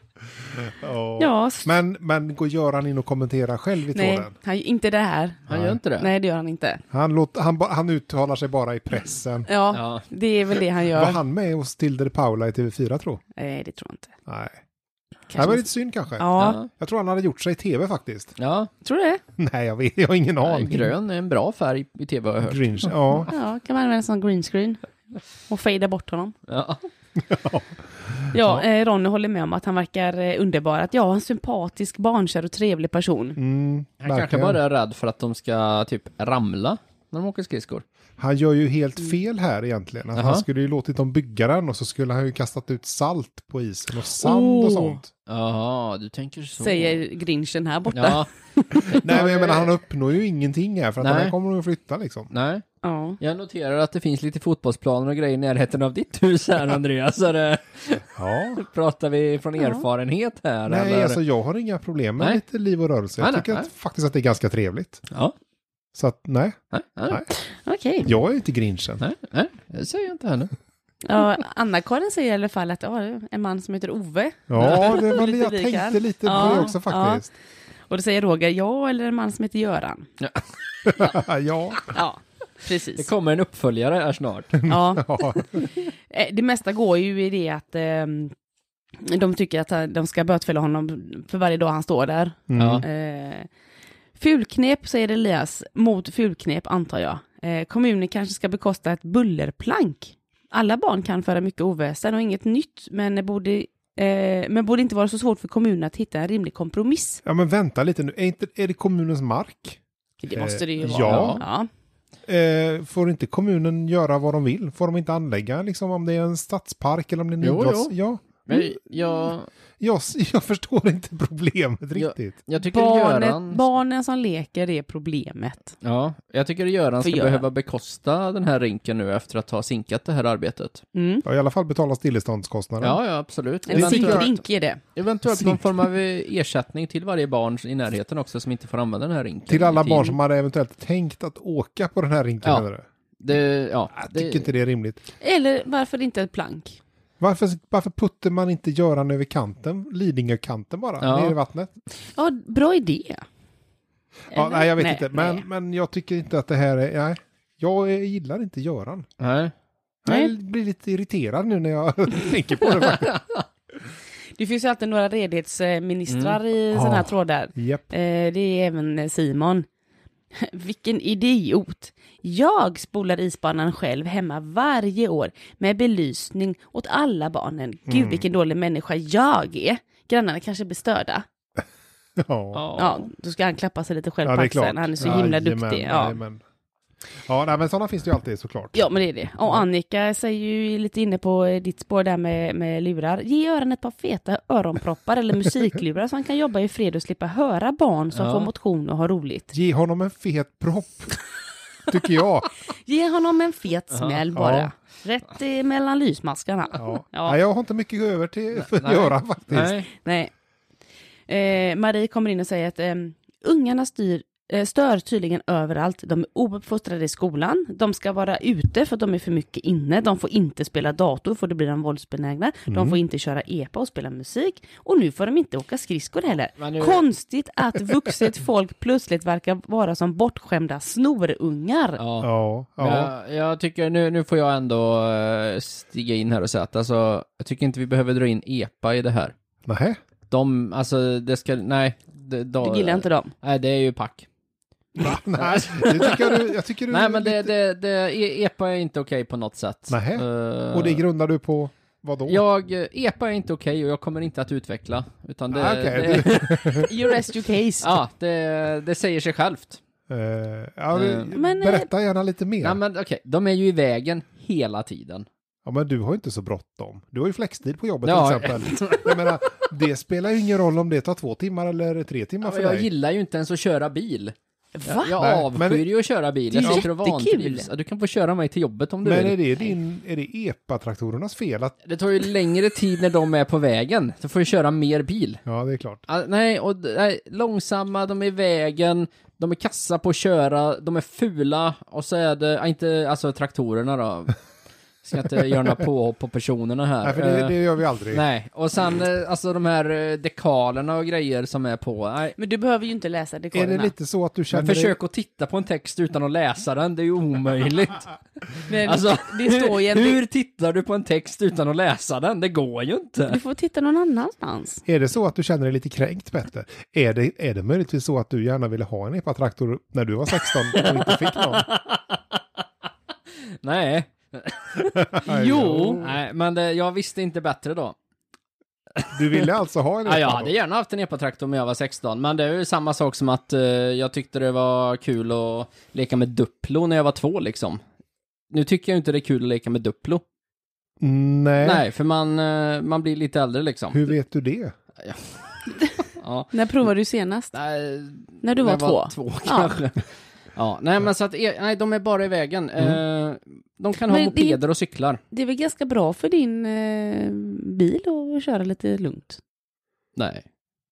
Speaker 1: ja.
Speaker 3: Ja, s-
Speaker 1: Men, men går Göran in och kommenterar själv i
Speaker 3: nej,
Speaker 1: tråden?
Speaker 3: han, inte det här.
Speaker 2: Han gör inte det?
Speaker 3: Nej, det gör han inte.
Speaker 1: Han, låter, han, ba- han uttalar sig bara i pressen.
Speaker 3: Ja,
Speaker 2: Ja.
Speaker 3: det är väl det han
Speaker 1: Var
Speaker 3: gör.
Speaker 1: han med hos Tilde de Paula i TV4 tro?
Speaker 3: Nej, det tror jag inte.
Speaker 1: Nej.
Speaker 3: Kanske
Speaker 1: Det var
Speaker 3: inte.
Speaker 1: lite synd kanske.
Speaker 3: Ja,
Speaker 2: Ja.
Speaker 1: Jag tror han hade gjort sig i TV faktiskt.
Speaker 2: ja.
Speaker 3: tror du det?
Speaker 1: Nej, jag, vet, jag har ingen
Speaker 2: ja.
Speaker 1: aning.
Speaker 2: Grön är en bra färg i tv har jag hört.
Speaker 1: Grinch, ja.
Speaker 3: Ja, kan man använda en sån green screen och fejda bort honom.
Speaker 2: Ja.
Speaker 3: Ja,
Speaker 2: Liksom.
Speaker 3: eh, Ronny håller med om att han verkar eh, underbar. Att ja, en sympatisk, barnkär och trevlig person.
Speaker 1: Mm,
Speaker 2: Han kanske
Speaker 1: verkligen.
Speaker 2: bara är rädd för att de ska typ ramla när de åker skridskor.
Speaker 1: Han gör ju helt fel här egentligen. Att
Speaker 2: Jaha.
Speaker 1: han skulle ju låtit dem bygga den och så skulle han ju kastat ut salt på isen och sand
Speaker 3: Oh.
Speaker 1: och sånt.
Speaker 2: Jaha, du tänker så.
Speaker 3: Säger Grinchen här borta.
Speaker 2: Ja,
Speaker 1: Nej men jag menar han uppnår ju ingenting här för att
Speaker 2: Nej.
Speaker 1: den här kommer de att flytta liksom.
Speaker 2: nej.
Speaker 3: Ja.
Speaker 2: Jag noterar att det finns lite fotbollsplaner och grejer i närheten av ditt hus här Andreas. Är det,
Speaker 1: Ja.
Speaker 2: pratar vi från erfarenhet här?
Speaker 1: Nej
Speaker 2: eller?
Speaker 1: alltså jag har inga problem med
Speaker 2: Nej.
Speaker 1: lite liv och rörelse.
Speaker 2: Nej,
Speaker 1: Jag
Speaker 2: nej,
Speaker 1: tycker
Speaker 2: nej.
Speaker 1: att, faktiskt att det är ganska trevligt.
Speaker 2: Ja.
Speaker 1: Så att nej,
Speaker 2: Nej, nej,
Speaker 1: Nej.
Speaker 3: Okej.
Speaker 1: jag är inte grinchen.
Speaker 2: nej, nej, det säger jag inte heller.
Speaker 3: Ja, Anna-Karin säger i alla fall att ja, det är en man som heter Ove.
Speaker 1: Ja, det var,
Speaker 3: Lite
Speaker 1: jag
Speaker 3: lik
Speaker 1: tänkte
Speaker 3: han.
Speaker 1: lite
Speaker 3: Ja,
Speaker 1: på det också faktiskt.
Speaker 3: Och då säger Roger, ja, eller en man som heter Göran.
Speaker 1: Ja. ja.
Speaker 3: Ja,
Speaker 2: Det
Speaker 3: precis.
Speaker 2: kommer en uppföljare här snart.
Speaker 3: Ja. Eh, Det mesta går ju i det att ehm, de tycker att han- de ska bötfälla honom för varje dag han står där.
Speaker 1: Mm.
Speaker 2: Ja.
Speaker 3: Eh, fulknep, säger Elias, mot fulknep antar jag. Eh, kommunen kanske ska bekosta ett bullerplank. Alla barn kan föra mycket oväsen och inget nytt, men borde, eh, men borde inte vara så svårt för kommunen att hitta en rimlig kompromiss.
Speaker 1: ja men vänta lite nu, är, inte, är det kommunens mark?
Speaker 3: Det
Speaker 1: Eh,
Speaker 3: måste det ju vara.
Speaker 1: ja.
Speaker 3: ja.
Speaker 1: Eh, får inte kommunen göra vad de vill? Får de inte anlägga liksom om det är en stadspark eller om det är en
Speaker 2: Jo,
Speaker 1: idrotts...
Speaker 2: jo.
Speaker 1: Ja.
Speaker 2: Men jag,
Speaker 1: Jag, jag förstår inte problemet riktigt.
Speaker 2: jag tycker
Speaker 3: Barnet,
Speaker 2: Göran...
Speaker 3: barnen som leker är problemet.
Speaker 2: Ja, jag tycker Göran
Speaker 3: För
Speaker 2: ska
Speaker 3: Göran.
Speaker 2: behöva bekosta den här rinken nu efter att ha sinkat det här arbetet.
Speaker 3: Mm.
Speaker 1: Ja, I alla fall betala stilleståndskostnaden.
Speaker 2: Ja, ja, absolut.
Speaker 3: En
Speaker 2: Eventuellt,
Speaker 3: sinkvink är det.
Speaker 2: eventuellt någon form av eh, ersättning till varje barn i närheten också som inte får använda den här rinken.
Speaker 1: Till alla
Speaker 2: i tiden.
Speaker 1: barn som hade eventuellt tänkt att åka på den här rinken.
Speaker 2: Ja.
Speaker 1: menar du?
Speaker 2: Det, ja,
Speaker 1: Jag
Speaker 2: det,
Speaker 1: tycker inte det är rimligt.
Speaker 3: Eller varför inte ett plank?
Speaker 1: Varför, varför puttar man inte Göran över kanten? Lidingökanten bara,
Speaker 2: Ja.
Speaker 1: ner i vattnet.
Speaker 3: Ja, bra idé.
Speaker 1: Ja,
Speaker 3: Eller?
Speaker 1: nej, jag vet
Speaker 3: Nej,
Speaker 1: inte. Men,
Speaker 3: nej.
Speaker 1: men jag tycker inte att det här är... Nej. Jag eh, gillar inte Göran.
Speaker 2: Nej.
Speaker 3: Nej.
Speaker 1: Jag blir lite irriterad nu när jag tänker på det. faktiskt.
Speaker 3: Det finns ju alltid några redhetsministrar i sådana här
Speaker 1: Ah.
Speaker 3: trådar.
Speaker 1: Japp.
Speaker 3: Eh, det är även eh, Simon. Vilken idiot. Jag spolar isbanan själv hemma varje år med belysning åt alla barnen.
Speaker 1: Mm.
Speaker 3: Gud vilken dålig människa jag är. Grannarna kanske blir störda.
Speaker 1: Ja.
Speaker 3: Ja, då ska han klappa sig lite själv
Speaker 1: Ja,
Speaker 3: på
Speaker 1: det är klart.
Speaker 3: axeln. Han är så himla
Speaker 1: Jajamän,
Speaker 3: duktig. Ja.
Speaker 1: jajamän. Ja, nej, men sådana finns det ju alltid såklart.
Speaker 3: ja, men det är det. Och Annika säger ju lite inne på eh, ditt spår där med, med lurar. Ge öronen ett par feta öronproppar eller musiklurar så han kan jobba i fred och slippa höra barn som
Speaker 2: Ja.
Speaker 3: får motion och har roligt.
Speaker 1: Ge honom en fet propp, tycker jag.
Speaker 3: Ge honom en fet smäll bara. Rätt i mellan lysmaskarna.
Speaker 1: Ja.
Speaker 3: Ja.
Speaker 1: Nej, jag har inte mycket över till för
Speaker 2: Nej.
Speaker 1: Göran faktiskt.
Speaker 2: Nej.
Speaker 3: Nej. Eh, Marie kommer in och säger att ehm, ungarna styr eh, stör tydligen överallt. De är ouppfostrade i skolan. De ska vara ute för att de är för mycket inne. De får inte spela dator för då blir de våldsbenägna. De får inte köra epa och spela musik. Och nu får de inte åka skridskor heller.
Speaker 2: Men nu-
Speaker 3: Konstigt att vuxet folk plötsligt verkar vara som bortskämda snorungar.
Speaker 2: Ja.
Speaker 1: Ja, ja.
Speaker 2: Jag, jag tycker, nu, nu får jag ändå eh, stiga in här och säga att alltså, jag tycker inte vi behöver dra in EPA i det här.
Speaker 1: Nähä.
Speaker 2: De, alltså det ska, nej. Det, då,
Speaker 3: Du gillar inte dem.
Speaker 2: Nej, det är ju pack.
Speaker 1: Nej, det tycker jag du... Jag tycker du
Speaker 2: Nej, men det, det, det, e- EPA är inte okej på något sätt.
Speaker 1: Nähä.
Speaker 2: Eh,
Speaker 1: Och det grundar du på vad då?
Speaker 2: jag, eh, EPA är inte okej och jag kommer inte att utveckla. Utan det,
Speaker 1: Ah, okej.
Speaker 2: det,
Speaker 3: You rest your case.
Speaker 2: ja, det, det säger sig självt.
Speaker 1: Eh, ja,
Speaker 2: Eh.
Speaker 3: Men, eh,
Speaker 1: berätta gärna lite mer.
Speaker 2: Nej men okej, de är ju i vägen hela tiden.
Speaker 1: Ja, men du har ju inte så bråttom. Du har ju flextid på jobbet
Speaker 2: Ja.
Speaker 1: till exempel. Jag menar, det spelar ju ingen roll om det tar två timmar eller tre timmar för
Speaker 2: jag
Speaker 1: dig.
Speaker 2: gillar ju inte ens att köra bil.
Speaker 3: Va?
Speaker 2: Jag
Speaker 1: Nej,
Speaker 2: avskyr
Speaker 1: men-
Speaker 2: ju att köra bil.
Speaker 3: Det är
Speaker 2: jag sitter och
Speaker 3: jättekul.
Speaker 2: vantrivs. Ja, Du kan få köra mig till jobbet om du
Speaker 1: Men
Speaker 2: vill.
Speaker 1: är det, din, är det EPA-traktorernas fel att...
Speaker 2: Det tar ju längre tid när de är på vägen. Då får du köra mer bil.
Speaker 1: Ja, det är klart.
Speaker 2: Ah, nej, och d- nej, långsamma, de är i vägen, de är kassa på att köra, de är fula och så är det, ah, inte, alltså traktorerna då. Ska inte göra några påhopp på personerna här.
Speaker 1: Nej, för
Speaker 2: Eh,
Speaker 1: det, det Mm. gör vi aldrig.
Speaker 2: nej. och sen eh, alltså de här eh, dekalerna och grejer som är på. Nej,
Speaker 3: Men du behöver ju inte läsa
Speaker 1: Är det
Speaker 3: dekoderna.
Speaker 1: lite så att du känner...
Speaker 2: Men försök att titta på en text utan att läsa den, det är ju omöjligt.
Speaker 3: Nej,
Speaker 2: Alltså,
Speaker 3: det står ju
Speaker 2: hur,
Speaker 3: inte-
Speaker 2: hur tittar du på en text utan att läsa den? Det går ju
Speaker 3: Du
Speaker 2: inte.
Speaker 3: får titta någon annanstans.
Speaker 1: Är det så att du känner dig lite kränkt, Petter? Är det, är det möjligtvis så att du gärna ville ha en EPA-traktor när du var 16 och inte fick någon?
Speaker 2: Nej.
Speaker 3: Jo.
Speaker 2: Nej, men det, jag visste inte bättre då.
Speaker 1: Du ville alltså ha en
Speaker 2: Ja, jag
Speaker 1: EPA?
Speaker 2: hade gärna haft en epatraktor om jag var 16, men det är ju samma sak som att eh, jag tyckte det var kul att leka med Duplo när jag var två liksom. Nu tycker jag inte det är kul att leka med Duplo.
Speaker 1: Nej.
Speaker 2: Nej, för man, eh, man blir lite äldre liksom.
Speaker 1: Hur vet du det?
Speaker 2: Ja.
Speaker 3: När provade du senast?
Speaker 2: Nej,
Speaker 3: När du var,
Speaker 2: jag
Speaker 3: två?
Speaker 2: två kanske. Ja. nej men så att, e- nej de är bara i vägen. Eh, de kan ha
Speaker 3: Mm. Men det-
Speaker 2: mopeder och cyklar.
Speaker 3: Det är väl ganska bra för din eh, bil att köra lite lugnt?
Speaker 2: Nej.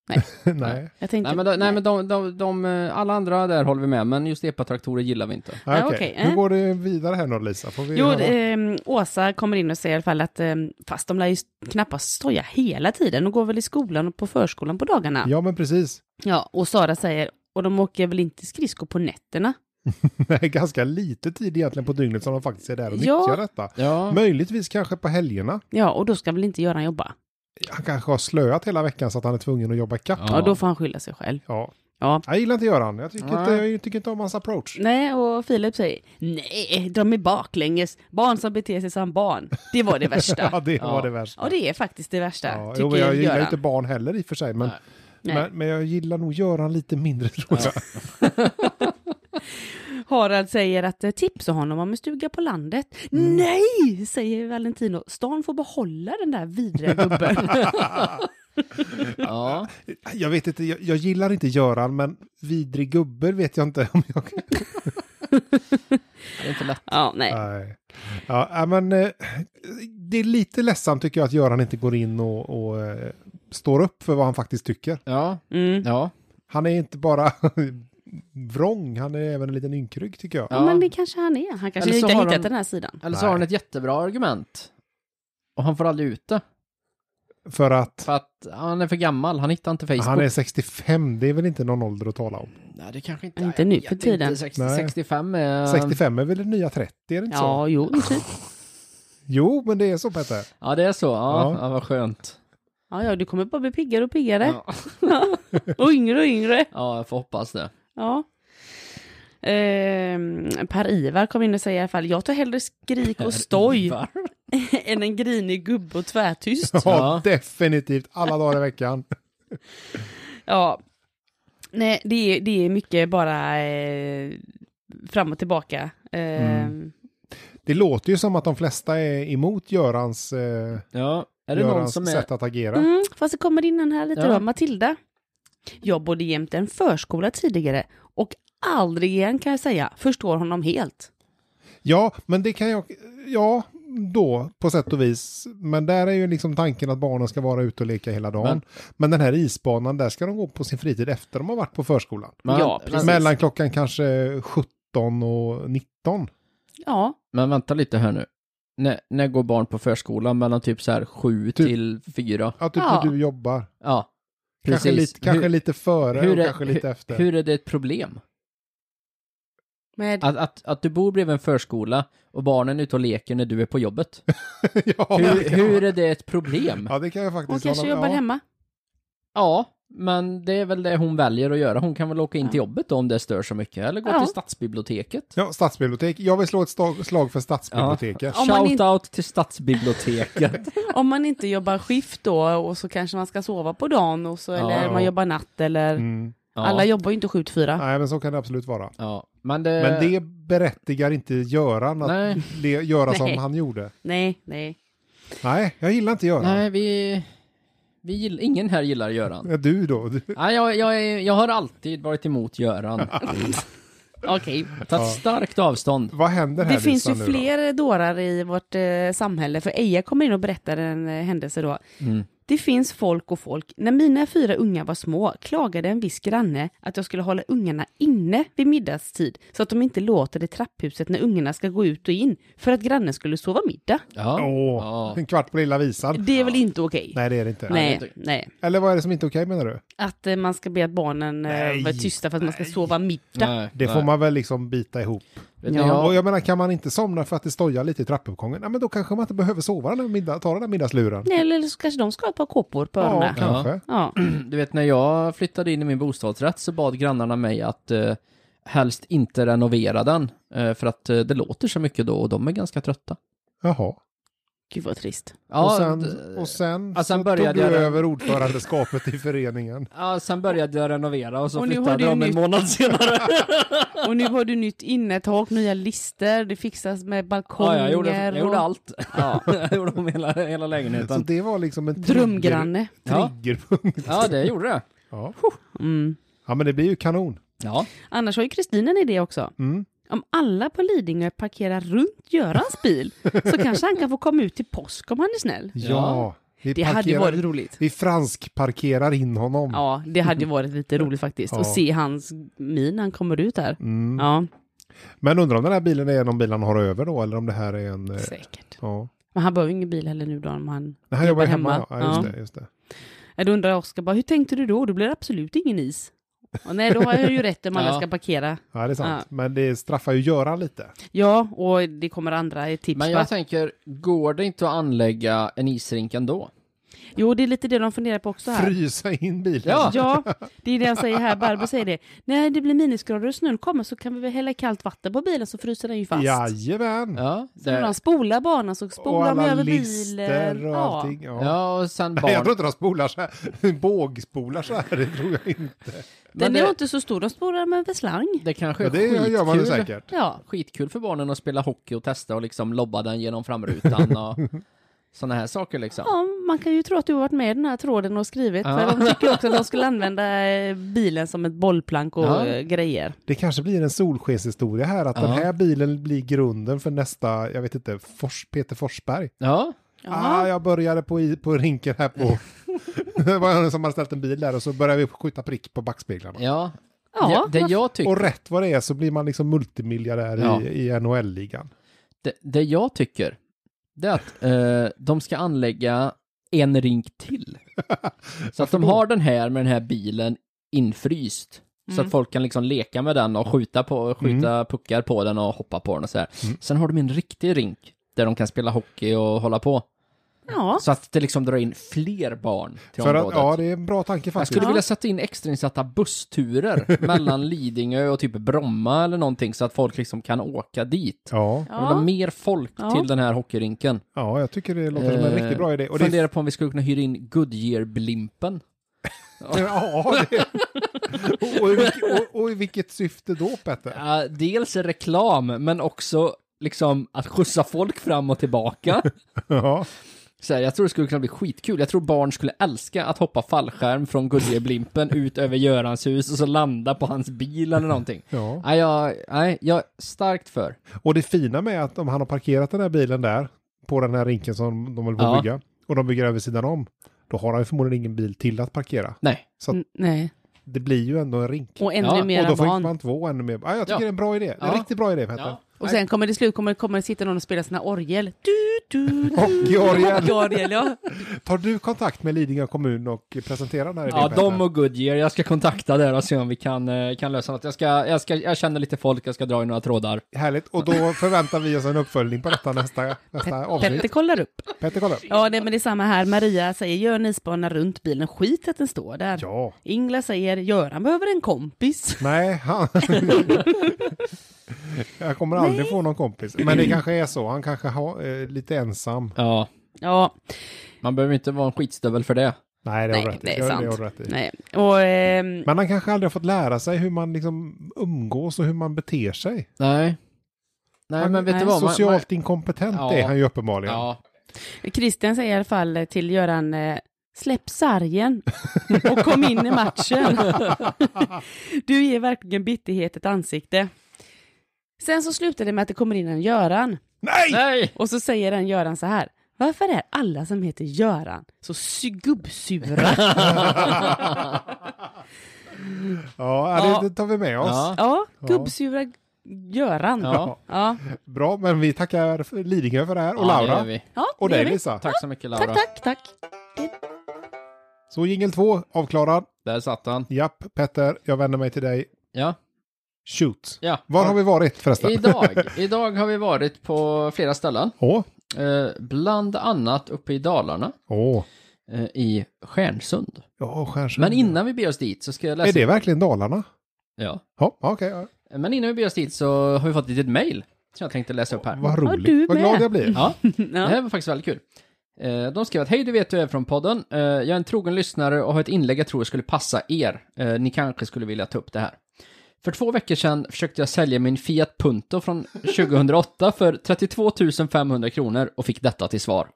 Speaker 1: Nej.
Speaker 3: Jag tänkte,
Speaker 2: Nej men, de, nej, men de, de, de, eh, alla andra där håller vi med, men just epatraktorer gillar vi inte.
Speaker 1: Ah,
Speaker 3: Ja,
Speaker 1: Okej.
Speaker 3: okej.
Speaker 1: Hur
Speaker 3: Eh.
Speaker 1: går det vidare här nu, Lisa? Får vi
Speaker 3: Jo,
Speaker 1: höra?
Speaker 3: ehm, Åsa kommer in och säger i alla fall att ehm, fast de lär ju knappast stoja hela tiden. De går väl i skolan och på förskolan på dagarna.
Speaker 1: Ja, men precis.
Speaker 3: Ja, och Sara säger, och de åker väl inte skridskor på nätterna?
Speaker 1: Nej, ganska lite tid egentligen på dygnet som de faktiskt är där och
Speaker 3: Ja.
Speaker 1: nyttjar detta.
Speaker 2: Ja.
Speaker 1: Möjligtvis kanske på helgerna.
Speaker 3: Ja, och då ska väl inte Göran jobba?
Speaker 1: Han kanske har slöat hela veckan så att han är tvungen att jobba ikapp.
Speaker 3: Ja, då får han skylla sig själv.
Speaker 1: Ja.
Speaker 3: Ja.
Speaker 1: Jag gillar inte Göran. Jag tycker, inte,
Speaker 2: Nej.
Speaker 1: jag tycker inte om hans approach.
Speaker 3: Nej, och Filip säger, nej, de är baklänges. Barn som beter sig som barn. Det var det värsta.
Speaker 1: Ja, det var
Speaker 2: Ja.
Speaker 1: det värsta.
Speaker 3: Och det är faktiskt det värsta,
Speaker 1: Ja, jo,
Speaker 3: tycker
Speaker 1: men jag gillar
Speaker 3: Göran.
Speaker 1: inte barn heller i och för sig, men,
Speaker 2: Nej.
Speaker 3: Nej.
Speaker 1: men, men jag gillar nog Göran lite mindre tror jag.
Speaker 3: Harald säger att eh, tipsa honom om en stuga på landet.
Speaker 1: Mm.
Speaker 3: Nej, säger Valentino. Stan får behålla den där vidriga gubben.
Speaker 2: Ja.
Speaker 1: Jag vet inte, jag, jag gillar inte Göran, men vidrig gubbe vet jag inte om jag...
Speaker 2: Det är inte lätt.
Speaker 3: ja, nej.
Speaker 1: Nej. Ja, äh, men eh, det är lite ledsamt tycker jag att Göran inte går in och, och eh, står upp för vad han faktiskt tycker.
Speaker 2: Ja.
Speaker 3: Mm.
Speaker 2: Ja.
Speaker 1: Han är inte bara vrång, han är även en liten ynkrygg tycker jag.
Speaker 3: Ja. men det kanske han är. Han kanske
Speaker 2: Eller så
Speaker 3: inte har
Speaker 2: har
Speaker 3: hittat
Speaker 2: de-
Speaker 3: den här sidan.
Speaker 2: Eller så
Speaker 1: Nej.
Speaker 2: har han ett jättebra argument. Och han får aldrig ut det.
Speaker 1: För att
Speaker 2: För att han är för gammal, han hittar inte Facebook.
Speaker 1: han är 65, det är väl inte någon ålder att tala om.
Speaker 2: Nej, det kanske inte
Speaker 3: Inte
Speaker 2: jag
Speaker 3: nu
Speaker 2: vet
Speaker 3: för tiden.
Speaker 2: Inte, 60,
Speaker 1: Nej.
Speaker 2: 65 är...
Speaker 1: 65 är väl det nya 30, är det inte så?
Speaker 3: Ja, jo, typ.
Speaker 1: Jo, men det är så Petter.
Speaker 2: Ja, det är så. Ja,
Speaker 1: Ja.
Speaker 2: ja. vad skönt.
Speaker 3: Ja, ja, du kommer bara bli piggare och piggare.
Speaker 2: Ja.
Speaker 3: Och yngre och yngre.
Speaker 2: ja, jag får hoppas det.
Speaker 3: Ja. Ehm, Per-Ivar kom in och säger i alla fall, jag tar hellre skrik och stoj
Speaker 2: Ivar.
Speaker 3: än en grinig gubbe och tvärtyst.
Speaker 1: Ja,
Speaker 2: Ja.
Speaker 1: definitivt. Alla dagar i veckan.
Speaker 3: Ja. Nej, det är, det är mycket bara eh, fram och tillbaka. Eh,
Speaker 1: Det låter ju som att de flesta är emot Görans, eh,
Speaker 2: Ja. Är det någon
Speaker 1: Görans
Speaker 2: som är...
Speaker 1: sätt att agera.
Speaker 3: mm, fast det kommer in en här lite
Speaker 2: Ja.
Speaker 3: då, Matilda. Jag bodde jämte en förskola tidigare och aldrig igen kan jag säga förstår honom helt.
Speaker 1: Ja, men det kan jag... Ja, då på sätt och vis. Men där är ju liksom tanken att barnen ska vara ute och leka hela dagen. Men,
Speaker 2: Men-
Speaker 1: den här isbanan, där ska de gå på sin fritid efter de har varit på förskolan.
Speaker 2: Men,
Speaker 3: Ja, precis.
Speaker 2: men,
Speaker 1: Mellan klockan kanske 17 och 19.
Speaker 3: Ja,
Speaker 2: men vänta lite här nu. När, när går barn på förskolan mellan typ så här sju
Speaker 1: Typ-
Speaker 2: till fyra?
Speaker 1: Ja, typ
Speaker 3: Ja.
Speaker 1: när du jobbar.
Speaker 2: Ja,
Speaker 1: Kanske,
Speaker 2: precis.
Speaker 1: lite, kanske
Speaker 2: Hur-
Speaker 1: lite före
Speaker 2: hur
Speaker 1: och
Speaker 2: är-
Speaker 1: kanske lite efter.
Speaker 2: Hur är det ett problem?
Speaker 3: med,
Speaker 2: Att, att, att du bor bredvid en förskola och barnen är ute och leker när du är på jobbet.
Speaker 1: ja, det
Speaker 2: Hur,
Speaker 1: kan-
Speaker 2: hur är det ett problem?
Speaker 1: ja, det kan jag faktiskt
Speaker 3: hon kanske
Speaker 1: hålla-
Speaker 3: jobbar
Speaker 1: ja.
Speaker 3: hemma.
Speaker 2: Ja, men det är väl det hon väljer att göra. Hon kan väl åka in
Speaker 3: Ja.
Speaker 2: till jobbet då om det stör så mycket, eller gå
Speaker 3: Ja.
Speaker 2: till stadsbiblioteket.
Speaker 1: Ja, stadsbibliotek. Jag vill slå ett slag, slag för stadsbiblioteket.
Speaker 3: Om man
Speaker 2: Shout
Speaker 3: inte-
Speaker 2: out till stadsbiblioteket.
Speaker 3: Om man inte jobbar skift då och så kanske man ska sova på dagen och så,
Speaker 2: Ja.
Speaker 3: eller man jobbar natt eller...
Speaker 1: Mm.
Speaker 2: Ja.
Speaker 3: Alla jobbar ju inte 7 till 4.
Speaker 1: Nej, men så kan det absolut
Speaker 3: Eh.
Speaker 1: vara.
Speaker 2: Ja, men det...
Speaker 1: Men det berättigar inte Göran att
Speaker 2: Nej.
Speaker 1: le, göra som
Speaker 3: Nej.
Speaker 1: han gjorde.
Speaker 3: Nej, nej.
Speaker 1: Nej, jag gillar inte Göran.
Speaker 2: Nej, vi... vi gill... Ingen här gillar Göran.
Speaker 1: Ja, Du då? Du.
Speaker 2: Nej, jag, jag, är... jag har alltid varit emot Göran.
Speaker 3: Okej.
Speaker 2: Tagit starkt avstånd.
Speaker 1: Vad händer här
Speaker 3: Det finns ju
Speaker 1: Lisa, nu då?
Speaker 3: fler dårar i vårt eh, samhälle, för Eija kommer in och berättar en eh, händelse då.
Speaker 2: Mm.
Speaker 3: Det finns folk och folk. När mina fyra ungar var små klagade en viss granne att jag skulle hålla ungarna inne vid middagstid så att de inte låter i trapphuset när ungarna ska gå ut och in för att grannen skulle sova middag.
Speaker 2: Ja.
Speaker 1: Åh,
Speaker 2: Ja.
Speaker 1: en kvart på lilla visan.
Speaker 3: Det är väl inte okej?
Speaker 1: Nej, det är det inte.
Speaker 3: Nej,
Speaker 2: det är inte-
Speaker 3: nej.
Speaker 1: Eller vad är det som inte är okej menar du?
Speaker 3: Att eh, man ska be att barnen
Speaker 1: Nej.
Speaker 3: eh, vara tysta för att man ska
Speaker 1: Nej.
Speaker 3: sova middag.
Speaker 2: Nej,
Speaker 1: Det
Speaker 2: nej.
Speaker 1: får man väl liksom bita ihop.
Speaker 2: Vet ni,
Speaker 3: Ja.
Speaker 2: jag-
Speaker 1: Och jag menar, kan man inte somna för att det stojar lite i trappuppgången, ja, men då kanske man inte behöver sova den där middag, ta den där middagsluren.
Speaker 3: Nej, eller så kanske de ska ha ett par kåpor på
Speaker 1: Ja,
Speaker 3: öronen.
Speaker 1: kanske.
Speaker 3: Ja.
Speaker 2: Du vet när jag flyttade in i min bostadsrätt så bad grannarna mig att eh, helst inte renovera den eh, för att eh, det låter så mycket då och de är ganska trötta.
Speaker 1: Jaha.
Speaker 3: Gud vad trist.
Speaker 2: Ja,
Speaker 1: och sen,
Speaker 2: d-
Speaker 1: och sen,
Speaker 2: Ja, sen
Speaker 1: så
Speaker 2: började
Speaker 1: tog
Speaker 2: jag
Speaker 1: du
Speaker 2: den-
Speaker 1: över ordförandeskapet i föreningen.
Speaker 2: ja, sen började jag renovera och så
Speaker 3: Och nu har
Speaker 2: flyttade
Speaker 3: du
Speaker 2: de en
Speaker 3: nytt.
Speaker 2: månad senare.
Speaker 3: Och nu har du nytt innertak, nya lister, det fixas med balkonger.
Speaker 2: ja, jag, gjorde, jag gjorde
Speaker 3: och-
Speaker 2: allt. jag gjorde om hela, hela
Speaker 1: Så
Speaker 2: lägenheten.
Speaker 1: det var liksom en trigger-
Speaker 3: Drömgranne.
Speaker 2: Ja.
Speaker 1: triggerpunkt.
Speaker 2: Ja, det gjorde det.
Speaker 1: Ja.
Speaker 3: Mm.
Speaker 1: ja, men det blir ju kanon.
Speaker 2: Ja,
Speaker 3: Annars har ju Kristina en idé också.
Speaker 1: Mm.
Speaker 3: Om alla på Lidingö parkerar runt Görans bil så kanske han kan få komma ut till påsk om han är snäll.
Speaker 1: Ja.
Speaker 2: Ja.
Speaker 1: Vi,
Speaker 3: Det hade ju
Speaker 1: parkerar-
Speaker 3: varit roligt.
Speaker 1: vi fransk parkerar in honom.
Speaker 3: Ja, det hade ju varit lite roligt faktiskt.
Speaker 1: Ja.
Speaker 3: Att se hans min när han kommer ut där.
Speaker 1: Mm.
Speaker 3: Ja,
Speaker 1: Men undrar om den här bilen är en av bilarna har över då, eller om det här är en... eh,
Speaker 3: säkert.
Speaker 1: Ja.
Speaker 3: Men han behöver ju ingen bil heller nu då om han...
Speaker 1: Det här jobbar
Speaker 3: Jobbar
Speaker 1: hemma.
Speaker 3: hemma.
Speaker 1: Ja, just
Speaker 3: Ja.
Speaker 1: det. Just det.
Speaker 3: Ja, Då undrar Oskar bara, hur tänkte du då? Då blir det absolut ingen is. Och nej, då har jag ju rätt om alla
Speaker 2: Ja.
Speaker 3: ska parkera.
Speaker 1: Ja, det är sant. Men det straffar ju Göran lite.
Speaker 3: Ja, och det kommer andra tips.
Speaker 2: men
Speaker 3: va?
Speaker 2: jag tänker, går det inte att anlägga en isrink ändå?
Speaker 3: Jo, det är lite det de funderar på också här.
Speaker 1: Frysa in bilen.
Speaker 2: Ja.
Speaker 3: Ja, det är det jag säger här. Barbro säger det. När det blir minusgrader och snön kommer så kan vi väl hälla kallt vatten på bilen så fryser den ju fast.
Speaker 1: Jajamän.
Speaker 2: Ja,
Speaker 3: Så när de
Speaker 2: det,
Speaker 3: spolar banan så
Speaker 1: Och
Speaker 3: spolar de
Speaker 1: alla
Speaker 3: över
Speaker 1: lister
Speaker 3: bilen.
Speaker 1: och allting. Ja.
Speaker 2: ja och sen
Speaker 1: Nej, jag tror
Speaker 2: barn.
Speaker 1: inte de spolar så här. Bågspolar så här, det tror jag inte.
Speaker 3: Den
Speaker 2: det,
Speaker 3: är ju inte så stor, de spolar med en slang.
Speaker 2: det kanske är
Speaker 1: Men det gör man ju
Speaker 2: skitkul.
Speaker 1: säkert.
Speaker 3: Ja,
Speaker 2: skitkul för barnen att spela hockey och testa och liksom lobba den genom framrutan och sådana här saker liksom.
Speaker 3: ja, man kan ju tro att du har varit med i den här tråden och skrivit.
Speaker 2: Ja.
Speaker 3: För de tycker också att de skulle använda eh, bilen som ett bollplank och
Speaker 2: Ja.
Speaker 3: eh, grejer.
Speaker 1: Det kanske blir en solskenshistoria här, att den
Speaker 2: Ja.
Speaker 1: här bilen blir grunden för nästa, jag vet inte, Fors, Peter Forsberg.
Speaker 2: Ja,
Speaker 1: Ah, jag började på, i- på rinken här på... det var någon som hade ställt en bil där och så började vi skjuta prick på backspeglarna.
Speaker 2: ja.
Speaker 3: Ja,
Speaker 2: det, det jag
Speaker 1: Och
Speaker 2: tycker,
Speaker 1: rätt vad det är så blir man liksom multimiljonär
Speaker 2: Ja.
Speaker 1: i, i NHL-ligan.
Speaker 2: det, det jag tycker, det är att eh, de ska anlägga en rink till. Så att de
Speaker 1: då?
Speaker 2: har den här med den här bilen infryst. Så att folk kan liksom leka med den och skjuta, på, skjuta
Speaker 1: Mm.
Speaker 2: puckar på den och hoppa på den och så här. Sen har de en riktig rink där de kan spela hockey och hålla på.
Speaker 3: ja.
Speaker 2: Så att det liksom drar in fler barn till
Speaker 1: För att,
Speaker 2: området.
Speaker 1: ja, det är en bra tanke
Speaker 2: Jag
Speaker 1: faktiskt.
Speaker 2: skulle vilja sätta in extrainsatta bussturer mellan Lidingö och typ Bromma eller någonting så att folk liksom kan åka dit.
Speaker 1: Ja,
Speaker 2: Jag vill ha
Speaker 3: ja.
Speaker 2: mer folk
Speaker 3: Ja.
Speaker 2: till den här hockeyrinken.
Speaker 1: ja, jag tycker det låter som en
Speaker 2: Eh,
Speaker 1: riktigt bra idé. Och det,
Speaker 2: Funderar på om vi skulle kunna hyra in Goodyear-blimpen.
Speaker 1: ja, det, och, i vilket, och, och i vilket syfte då, Petter?
Speaker 2: Eh, dels reklam, men också liksom att skjutsa folk fram och tillbaka.
Speaker 1: Ja.
Speaker 2: Så här, jag tror det skulle kunna bli skitkul. Jag tror barn skulle älska att hoppa fallskärm från Goodyear-blimpen ut över Görans hus och så landa på hans bil eller någonting.
Speaker 1: ja.
Speaker 2: Nej, jag, nej, jag är starkt för.
Speaker 1: Och det fina med att om han har parkerat den här bilen där, på den här rinken som de håller på att
Speaker 2: Ja.
Speaker 1: bygga och de bygger över sidan om, då har han ju förmodligen ingen bil till att parkera.
Speaker 2: Nej.
Speaker 1: Så
Speaker 3: N- Mm, Nej.
Speaker 1: det blir ju ändå en rink.
Speaker 3: Och ännu
Speaker 2: Ja, och
Speaker 1: Och
Speaker 3: mer
Speaker 1: då får
Speaker 3: van.
Speaker 1: man två ännu mer. Ja, jag tycker
Speaker 2: Ja.
Speaker 1: det är en bra idé. Det är En
Speaker 2: Ja.
Speaker 1: riktigt bra idé, Petter. Ja.
Speaker 3: Och sen kommer det slut, kommer, kommer det sitta någon och spela sina orgel. Du, du, du.
Speaker 1: Och Georgien.
Speaker 3: Orgel, ja.
Speaker 1: Tar du kontakt med Lidingö kommun och presenterar den här idén?
Speaker 2: Ja,
Speaker 1: Petter?
Speaker 2: de och Goodyear. Jag ska kontakta där och se om vi kan, eh, kan lösa något. Jag, ska, jag, ska, jag känner lite folk, jag ska dra i några trådar.
Speaker 1: Härligt. Och då förväntar vi oss en uppföljning på detta nästa, nästa
Speaker 3: Petter
Speaker 1: avsnitt.
Speaker 3: kollar upp.
Speaker 1: Petter, kolla.
Speaker 3: Ja, nej, men det är samma här. Maria säger, gör en isbana runt bilen. Skit att den står där.
Speaker 1: Ja.
Speaker 3: Ingla säger, Göran behöver en kompis.
Speaker 1: Nej, han... jag kommer aldrig få någon kompis. Men det kanske är så. Han kanske har eh, lite ensam.
Speaker 2: Ja,
Speaker 3: Ja,
Speaker 2: man behöver inte vara en skitstövel för det.
Speaker 1: Nej, det har
Speaker 3: nej,
Speaker 1: du rätt i.
Speaker 3: det
Speaker 1: Det
Speaker 3: är
Speaker 1: har- det har
Speaker 3: sant.
Speaker 1: du rätt i.
Speaker 3: Nej. Och, ehm,
Speaker 1: Men han kanske aldrig har fått lära sig hur man liksom umgås och hur man beter sig.
Speaker 2: Nej. Nej,
Speaker 1: han
Speaker 2: men vet
Speaker 1: är
Speaker 2: du vad? Man-
Speaker 1: socialt
Speaker 2: man-
Speaker 1: inkompetent
Speaker 2: Ja.
Speaker 1: är han ju uppenbarligen.
Speaker 2: Ja,
Speaker 3: Christian säger i alla fall till Göran, eh, släpp sargen och kom in i matchen. du ger verkligen bitterhet ett ansikte. Sen så slutar det med att det kommer in en Göran
Speaker 1: Nej!
Speaker 2: Nej!
Speaker 3: och så säger den Göran så här. Varför är alla som heter Göran så sy- gubbsura?
Speaker 1: Ja,
Speaker 3: Ja.
Speaker 1: det, det tar vi med oss.
Speaker 2: Ja.
Speaker 3: ja, gubbsura Göran.
Speaker 2: Ja.
Speaker 3: ja.
Speaker 1: Bra, men vi tackar för- Lidingö för det här och
Speaker 2: Ja, det
Speaker 1: Laura.
Speaker 2: gör vi.
Speaker 3: Ja,
Speaker 1: Och
Speaker 3: det
Speaker 1: dig
Speaker 3: gör vi.
Speaker 1: Lisa.
Speaker 2: Tack så mycket Laura.
Speaker 3: Tack, tack, tack.
Speaker 1: Så jingel två avklarad.
Speaker 2: Där satt han.
Speaker 1: Japp, Petter, jag vänder mig till dig.
Speaker 2: Ja,
Speaker 1: Shoot.
Speaker 2: ja.
Speaker 1: Var har vi varit förresten?
Speaker 2: Idag, idag har vi varit på flera ställen.
Speaker 1: Åh,
Speaker 2: Eh, bland annat uppe i Dalarna
Speaker 1: åh.
Speaker 2: eh, i Stjärnsund.
Speaker 1: Ja, Stjärnsund.
Speaker 2: Men innan vi beger oss dit så ska jag läsa...
Speaker 1: Är det verkligen Dalarna?
Speaker 2: Ja.
Speaker 1: Ja, okej. ja.
Speaker 2: Men innan vi beger oss dit så har vi fått ett litet mejl som jag tänkte läsa upp här.
Speaker 1: Vad
Speaker 3: Ja,
Speaker 1: roligt.
Speaker 3: du
Speaker 1: Vad
Speaker 3: med.
Speaker 1: glad jag blir.
Speaker 2: Ja, det
Speaker 3: Ja.
Speaker 2: här var faktiskt väldigt kul. Eh, De skrev att hej, du vet du är från podden. Eh, Jag är en trogen lyssnare och har ett inlägg jag tror skulle passa er. Eh, Ni kanske skulle vilja ta upp det här. För två veckor sedan försökte jag sälja min Fiat Punto från 2008 för 32 500 kronor och fick detta till svar.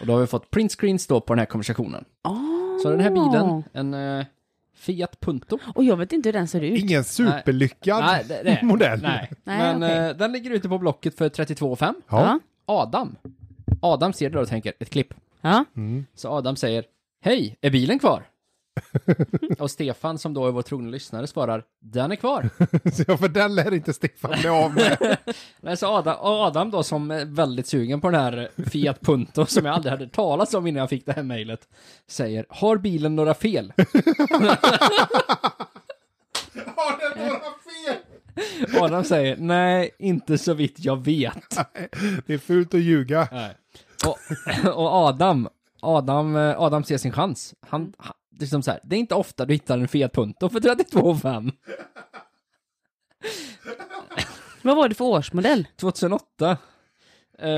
Speaker 2: Och då har vi fått printscreens då på den här konversationen. Så den här
Speaker 3: Oh.
Speaker 2: bilen, en eh, Fiat Punto.
Speaker 3: Ah. Och jag vet inte hur den ser ut.
Speaker 1: Ingen superlyckad modell.
Speaker 2: Nej,
Speaker 3: Nej,
Speaker 2: men
Speaker 3: okej.
Speaker 2: eh, den ligger ute på Blocket för 32 500.
Speaker 1: Ja.
Speaker 2: Adam. Adam ser det då och tänker, ett klipp.
Speaker 3: Ja.
Speaker 2: Så Adam säger Hej, är bilen kvar? och Stefan som då är vår trogna lyssnare svarar Den är kvar.
Speaker 1: Så ja, för den lär inte Stefan bli av med.
Speaker 2: Nej, så Adam, och Adam då som är väldigt sugen på den här Fiat Punto som jag aldrig hade talat om innan jag fick det här mejlet säger Har bilen några fel?
Speaker 1: Har den några fel?
Speaker 2: Adam säger Nej, inte så vitt jag vet.
Speaker 1: Det är fult att ljuga.
Speaker 2: Nej. Och, och Adam, Adam, eh, Adam ser sin chans. Han, han det är som så här, det är inte ofta du hittar en Fiat Punto för 32 5.
Speaker 3: Vad var det för årsmodell?
Speaker 2: 2008. Eh,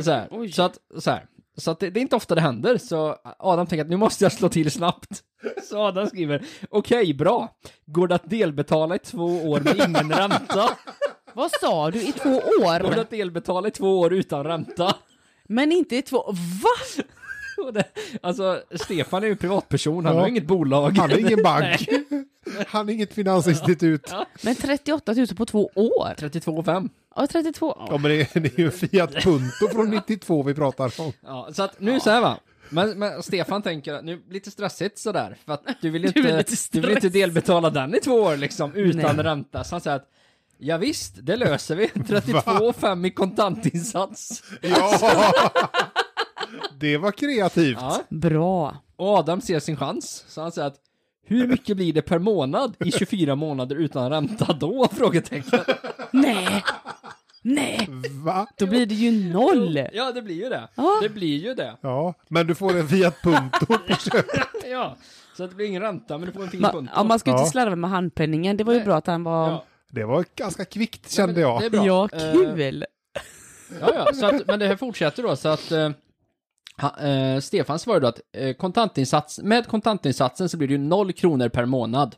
Speaker 2: så, här. så att, så, här. så att det, det är inte ofta det händer, så Adam tänker att nu måste jag slå till snabbt. Så Adam skriver, okej, bra. Går det att delbetala i två år med ingen ränta?
Speaker 3: Vad sa du? I två
Speaker 2: Går det
Speaker 3: år?
Speaker 2: att delbetala i två år utan ränta?
Speaker 3: Men inte i två... Va?
Speaker 2: Och det, alltså, Stefan är ju privatperson, han
Speaker 1: Ja.
Speaker 2: har ju inget bolag.
Speaker 1: Han är ingen bank. Han är inget finansinstitut.
Speaker 3: Men 38 000 på två år?
Speaker 2: 32,5.
Speaker 3: Ja, 32.
Speaker 1: Ja, men det är, det är ju Fiat Punto från 92 vi pratar om.
Speaker 2: Ja, så att nu så här va. Men, men Stefan tänker att nu, lite stressigt sådär, för att du vill ju
Speaker 3: Du är
Speaker 2: inte,
Speaker 3: lite
Speaker 2: du vill inte
Speaker 3: stressig.
Speaker 2: delbetala den i två år liksom, utan
Speaker 3: Nej.
Speaker 2: ränta. Så han säger att, ja visst, det löser vi. 32,5 i kontantinsats.
Speaker 1: Ja! Det var kreativt.
Speaker 2: Ja.
Speaker 3: Bra.
Speaker 2: Och Adam ser sin chans, så han säger att, hur mycket blir det per månad i 24 månader utan ränta då? Frågetecken.
Speaker 3: Nej. Nej.
Speaker 1: Va?
Speaker 3: Då blir det ju noll.
Speaker 2: Ja, det blir ju det.
Speaker 3: Ja.
Speaker 2: Det blir ju det.
Speaker 1: Ja, men du får en Fiat Punto på köpet.
Speaker 2: Ja. Så att det blir ingen ränta, men du får en fin
Speaker 3: Man,
Speaker 2: punkt.
Speaker 3: ja, man ska ju inte
Speaker 1: Ja.
Speaker 3: slarva med handpenningen. Det var ju
Speaker 2: Nej.
Speaker 3: bra att han
Speaker 2: Ja.
Speaker 3: var...
Speaker 1: Det var ganska kvickt kände jag.
Speaker 2: Det är bra.
Speaker 3: Ja,
Speaker 2: Eh,
Speaker 3: kul.
Speaker 2: Ja, ja, så att, men det här fortsätter då, så att eh, ha, eh, Stefan svarade då att eh, kontantinsats, med kontantinsatsen så blir det ju noll kronor per månad.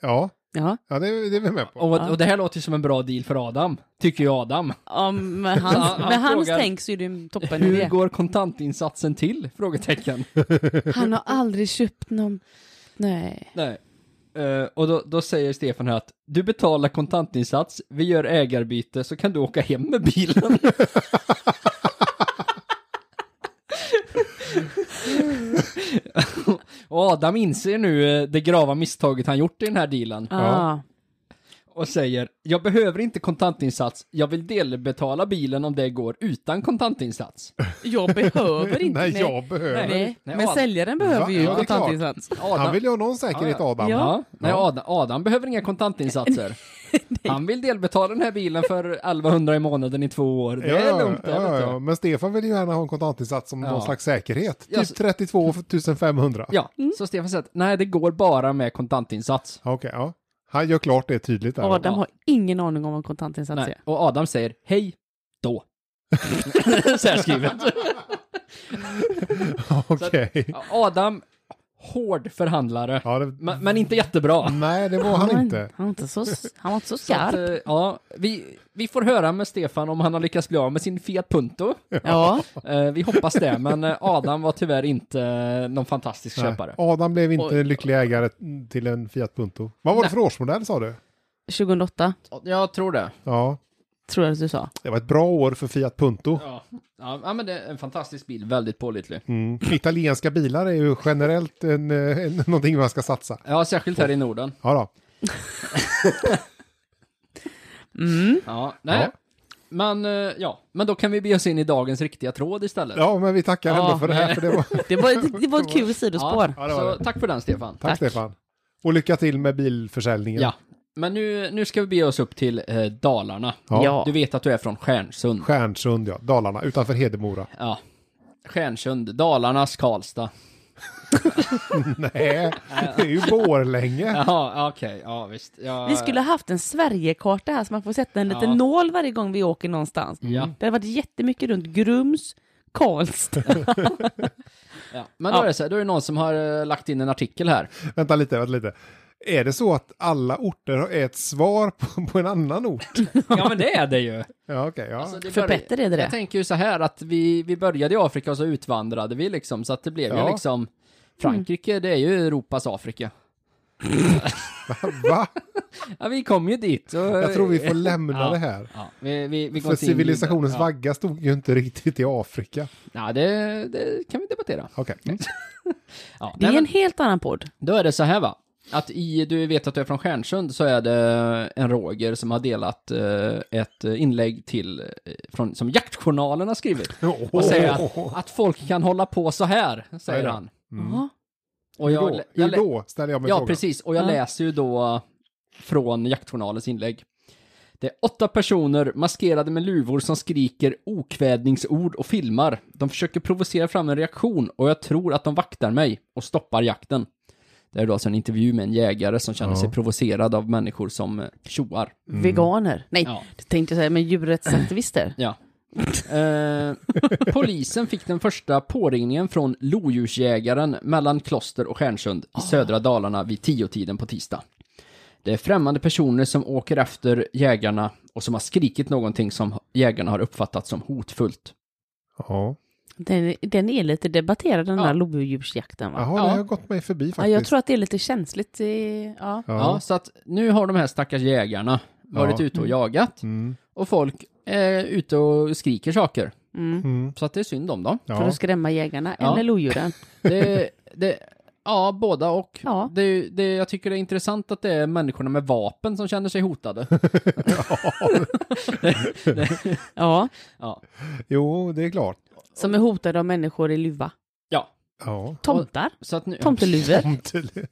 Speaker 1: Ja,
Speaker 3: Ja.
Speaker 1: ja det, det är vi med på.
Speaker 2: Och, och det här låter ju som en bra deal för Adam, tycker ju Adam.
Speaker 3: ja med
Speaker 2: Så
Speaker 3: hans,
Speaker 2: han- han
Speaker 3: med hans
Speaker 2: frågar-
Speaker 3: tänk så är det en toppen
Speaker 2: Hur
Speaker 3: idé.
Speaker 2: går kontantinsatsen till? Frågetecken.
Speaker 3: Han har aldrig köpt någon... Nej.
Speaker 2: Nej. Eh, och då, då säger Stefan här att du betalar kontantinsats, vi gör ägarbyte, så kan du åka hem med bilen. Och Adam inser nu eh, det grava misstaget han gjort i den här dealen
Speaker 3: Ah.
Speaker 2: och säger Jag behöver inte kontantinsats, jag vill delbetala bilen om det går utan kontantinsats.
Speaker 3: Jag behöver inte.
Speaker 1: Nej, jag behöver.
Speaker 3: Nej.
Speaker 2: Nej,
Speaker 3: Men
Speaker 2: Adam.
Speaker 3: säljaren behöver
Speaker 1: Va?
Speaker 3: ju
Speaker 1: Ja, det är klart.
Speaker 3: kontantinsats.
Speaker 2: Adam,
Speaker 1: Han vill ju ha någon säkerhet,
Speaker 2: Ja,
Speaker 1: Adam.
Speaker 2: ja.
Speaker 3: Ja.
Speaker 2: Nej, Adam, Adam behöver inga kontantinsatser. Han vill delbetala den här bilen för 1100 i månaden i två år. Det
Speaker 1: Ja,
Speaker 2: är lugnt. det
Speaker 1: ja, ja,
Speaker 2: vet du.
Speaker 1: ja. Men Stefan vill ju gärna ha en kontantinsats som
Speaker 2: Ja.
Speaker 1: någon slags säkerhet. Typ
Speaker 2: Ja, så-
Speaker 1: 32 500.
Speaker 2: Ja, så Stefan säger att nej, det går bara med kontantinsats.
Speaker 1: Okej, ja. Han gör klart det tydligt där.
Speaker 3: Adam har ingen aning om vad kontantinsats
Speaker 2: Nej.
Speaker 3: är.
Speaker 2: Och Adam säger hej då. så här skrivet.
Speaker 1: Okej.
Speaker 2: Adam, hård förhandlare.
Speaker 1: Ja, det...
Speaker 2: Men, men inte jättebra.
Speaker 1: Nej, det var han inte.
Speaker 3: Han var inte så, han var inte så
Speaker 2: Så att,
Speaker 3: skarp.
Speaker 2: eh, ja, vi, vi får höra med Stefan om han har lyckats bli av med sin Fiat Punto.
Speaker 3: Ja.
Speaker 2: Eh, vi hoppas det, men eh, Adam var tyvärr inte eh, någon fantastisk
Speaker 1: Nej.
Speaker 2: köpare.
Speaker 1: Adam blev inte
Speaker 3: Oj.
Speaker 1: en lycklig ägare till en Fiat Punto. Vad var det för årsmodell sa du?
Speaker 3: 2008
Speaker 2: Jag tror det.
Speaker 1: Ja,
Speaker 3: tror jag att du sa.
Speaker 1: det var ett bra år för Fiat Punto.
Speaker 2: Ja. ja, men det är en fantastisk bil, väldigt pålitlig.
Speaker 1: Mm. Italienska bilar är ju generellt en, eh, en, någonting man ska satsa.
Speaker 2: Ja, särskilt här i Norden.
Speaker 1: Ja, då.
Speaker 3: Mm.
Speaker 2: Ja, nej.
Speaker 1: Ja.
Speaker 2: Men, eh, ja. men då kan vi bege oss in i dagens riktiga tråd istället.
Speaker 1: ja men vi tackar
Speaker 3: Ja.
Speaker 1: ändå för det här. För det var...
Speaker 3: Det var ett, det var ett kul sidospår.
Speaker 1: Ja, det var
Speaker 2: så
Speaker 1: det.
Speaker 2: tack för den Stefan.
Speaker 1: Tack, Stefan. Och lycka till med bilförsäljningen.
Speaker 2: Ja, men nu, nu ska vi bege oss upp till eh, Dalarna.
Speaker 1: Ja.
Speaker 3: Ja.
Speaker 2: Du vet att du är från Stjärnsund.
Speaker 1: Stjärnsund, ja. Dalarna, utanför Hedemora.
Speaker 2: Ja. Stjärnsund, Dalarnas Karlstad.
Speaker 1: Nej, det är ju Borlänge.
Speaker 2: Ja, okej, ja visst. Ja,
Speaker 3: Vi skulle ha haft en Sverigekarta här så man får sätta en liten
Speaker 2: Ja.
Speaker 3: nål varje gång vi åker någonstans. Mm.
Speaker 2: Ja.
Speaker 3: Det har varit jättemycket runt Grums, Karlstad.
Speaker 2: Ja. Men då
Speaker 3: Ja.
Speaker 2: är det så här, då är det någon som har eh, lagt in en artikel här.
Speaker 1: Vänta lite, vänta lite. Är det så att alla orter är ett svar på, på en annan ort?
Speaker 2: Ja, men det är det ju.
Speaker 1: Ja, okej. ja.
Speaker 2: Alltså, det
Speaker 3: För
Speaker 2: börjar-
Speaker 3: Petter är det
Speaker 2: Jag
Speaker 3: det.
Speaker 2: tänker ju så här att vi, vi började i Afrika och så utvandrade vi liksom, så att det blev
Speaker 1: Ja.
Speaker 2: ju liksom Frankrike,
Speaker 3: Mm.
Speaker 2: det är ju Europas Afrika.
Speaker 1: Va?
Speaker 2: Ja, vi kom ju dit. Och,
Speaker 1: Jag tror vi får lämna
Speaker 2: Ja.
Speaker 1: det här.
Speaker 2: Ja, vi, vi, vi går
Speaker 1: För
Speaker 2: inte in i-
Speaker 1: civilisationens
Speaker 2: ja.
Speaker 1: vagga stod ju inte riktigt i Afrika.
Speaker 2: Ja, det, det kan vi debattera.
Speaker 1: Okej.
Speaker 2: Ja, nej,
Speaker 3: Det är en
Speaker 2: men,
Speaker 3: helt annan podd.
Speaker 2: då är det så här va, att i, du vet att du är från Stjärnsund, så är det en Roger som har delat eh, ett inlägg till, eh, från, som Jaktjournalen har skrivit. Och säger att, att folk kan hålla på så här, säger
Speaker 1: Oj då.
Speaker 2: han.
Speaker 3: Ja.
Speaker 2: Och
Speaker 1: Hur då?
Speaker 2: jag
Speaker 1: Hur
Speaker 2: lä-
Speaker 1: då? Ställer jag mig
Speaker 2: Ja,
Speaker 1: frågan.
Speaker 2: precis. Och jag
Speaker 3: Ja.
Speaker 2: läser ju då från Jaktjournalens inlägg. Det är åtta personer maskerade med luvor som skriker okvädningsord och filmar. De försöker provocera fram en reaktion och jag tror att de vaktar mig och stoppar jakten. Det är då alltså en intervju med en jägare som känner
Speaker 1: Ja.
Speaker 2: sig provocerad av människor som eh, tjoar.
Speaker 3: Veganer. Nej,
Speaker 2: Ja.
Speaker 3: det tänkte jag säga, men djurrättsaktivister.
Speaker 2: Ja. Eh, polisen fick den första påringningen från lodjursjägaren mellan Kloster och Stjärnsund
Speaker 1: Ah.
Speaker 2: i södra Dalarna vid tiotiden på tisdag. Det är främmande personer som åker efter jägarna och som har skrikit någonting som jägarna har uppfattat som hotfullt.
Speaker 1: Ja.
Speaker 3: Den, den är lite debatterad, den
Speaker 2: Ja.
Speaker 3: där lodjursjakten. Va?
Speaker 1: Jaha,
Speaker 2: Ja.
Speaker 1: det har gått mig förbi faktiskt.
Speaker 3: Ja, jag tror att det är lite känsligt. eh, Ja.
Speaker 1: Ja.
Speaker 2: Ja. så att nu har de här stackars jägarna varit
Speaker 1: Ja.
Speaker 2: ute och jagat
Speaker 1: Mm.
Speaker 2: och folk är ute och skriker saker.
Speaker 3: Mm.
Speaker 1: Mm.
Speaker 2: Så att det är synd om dem.
Speaker 3: För
Speaker 1: Ja.
Speaker 3: att skrämma jägarna
Speaker 2: Ja.
Speaker 3: eller lodjuren.
Speaker 2: Det, det, ja, båda och.
Speaker 3: Ja.
Speaker 2: Det, det, jag tycker det är intressant att det är människorna med vapen som känner sig hotade.
Speaker 3: Ja,
Speaker 2: Ja.
Speaker 1: Jo, det är klart.
Speaker 3: som är hotade av människor i luva.
Speaker 2: ja.
Speaker 1: Ja.
Speaker 3: Tomtar.
Speaker 2: Så, att nu,
Speaker 3: Tomteluvor.
Speaker 1: Omtydligt.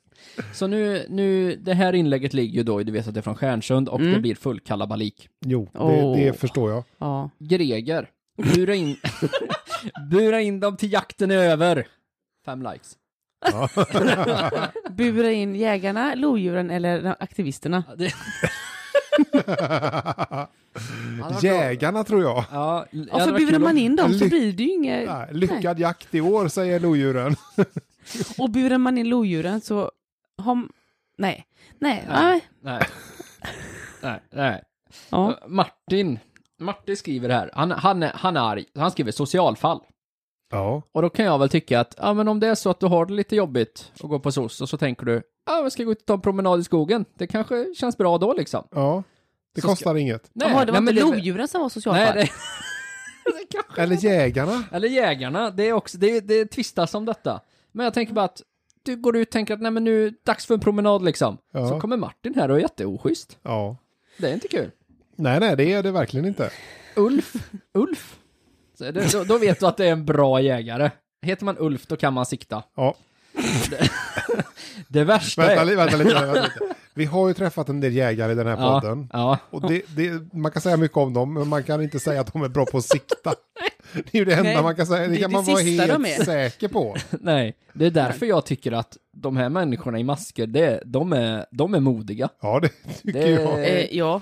Speaker 2: så nu, nu, det här inlägget ligger ju då i Du vet att det är från Stjärnsund och
Speaker 3: Mm.
Speaker 2: det blir full kalabalik.
Speaker 1: Jo,
Speaker 3: Åh.
Speaker 1: det, det förstår jag.
Speaker 3: Ja.
Speaker 2: Greger, bura in, bura in dem till jakten är över. Fem likes.
Speaker 3: Bura in jägarna, lodjuren eller aktivisterna.
Speaker 2: Ja, det-
Speaker 1: Jägarna tror jag.
Speaker 2: Ja, det
Speaker 3: Ja,
Speaker 2: hade
Speaker 3: för
Speaker 2: varit
Speaker 3: burar
Speaker 2: kul
Speaker 3: man
Speaker 2: om-
Speaker 3: in dem så
Speaker 1: Ly-
Speaker 3: blir det ju inget.
Speaker 1: Nej, Lyckad jakt i år, säger lodjuren.
Speaker 3: Och burar man in lodjuren så har... Nej. Nej.
Speaker 2: Nej.
Speaker 3: Nej.
Speaker 2: Nej. Nej, nej.
Speaker 3: Ja.
Speaker 2: Martin. Martin skriver här, han, han, är- han är arg, han skriver socialfall.
Speaker 1: Ja.
Speaker 2: Och då kan jag väl tycka att, ja men om det är så att du har det lite jobbigt och går på SOS och så tänker du, ja men ska jag gå ut och ta en promenad i skogen, det kanske känns bra då liksom.
Speaker 1: ja. Det
Speaker 2: Så
Speaker 1: kostar inget.
Speaker 2: Nej,
Speaker 3: Jaha, det var
Speaker 2: nej, men
Speaker 3: inte
Speaker 2: det-
Speaker 3: lodjuren som var
Speaker 2: Nej,
Speaker 3: socialfall?
Speaker 2: det, det kanske,
Speaker 1: Eller jägarna.
Speaker 2: eller jägarna, det är också, det, det tvistas om detta. Men jag tänker bara att du går ut och tänker att nej men nu, dags för en promenad liksom.
Speaker 1: Ja.
Speaker 2: Så kommer Martin här och är jätteoschysst.
Speaker 1: Ja.
Speaker 2: Det är inte kul.
Speaker 1: Nej, nej, det är det verkligen inte.
Speaker 2: Ulf, Ulf. Så är det, då, då vet du att det är en bra jägare. Heter man Ulf då kan man sikta.
Speaker 1: Ja.
Speaker 2: Det värsta
Speaker 1: Vänta,
Speaker 2: är...
Speaker 1: li- vänta, lite, vänta lite. Vi har ju träffat en del jägare i den här
Speaker 2: Ja,
Speaker 1: podden.
Speaker 2: ja,
Speaker 1: Och det, det, man kan säga mycket om dem, men man kan inte säga att de är bra på att sikta. Det är ju det enda
Speaker 3: Nej,
Speaker 1: man kan säga. Det,
Speaker 3: det är
Speaker 1: kan
Speaker 3: det
Speaker 1: man vara
Speaker 3: sista de
Speaker 1: helt
Speaker 3: är.
Speaker 1: säker på.
Speaker 2: nej. Det är därför jag tycker att de här människorna i masker, det, de, är, de är modiga.
Speaker 1: Ja, det tycker
Speaker 2: Det-
Speaker 1: jag.
Speaker 3: Eh, ja.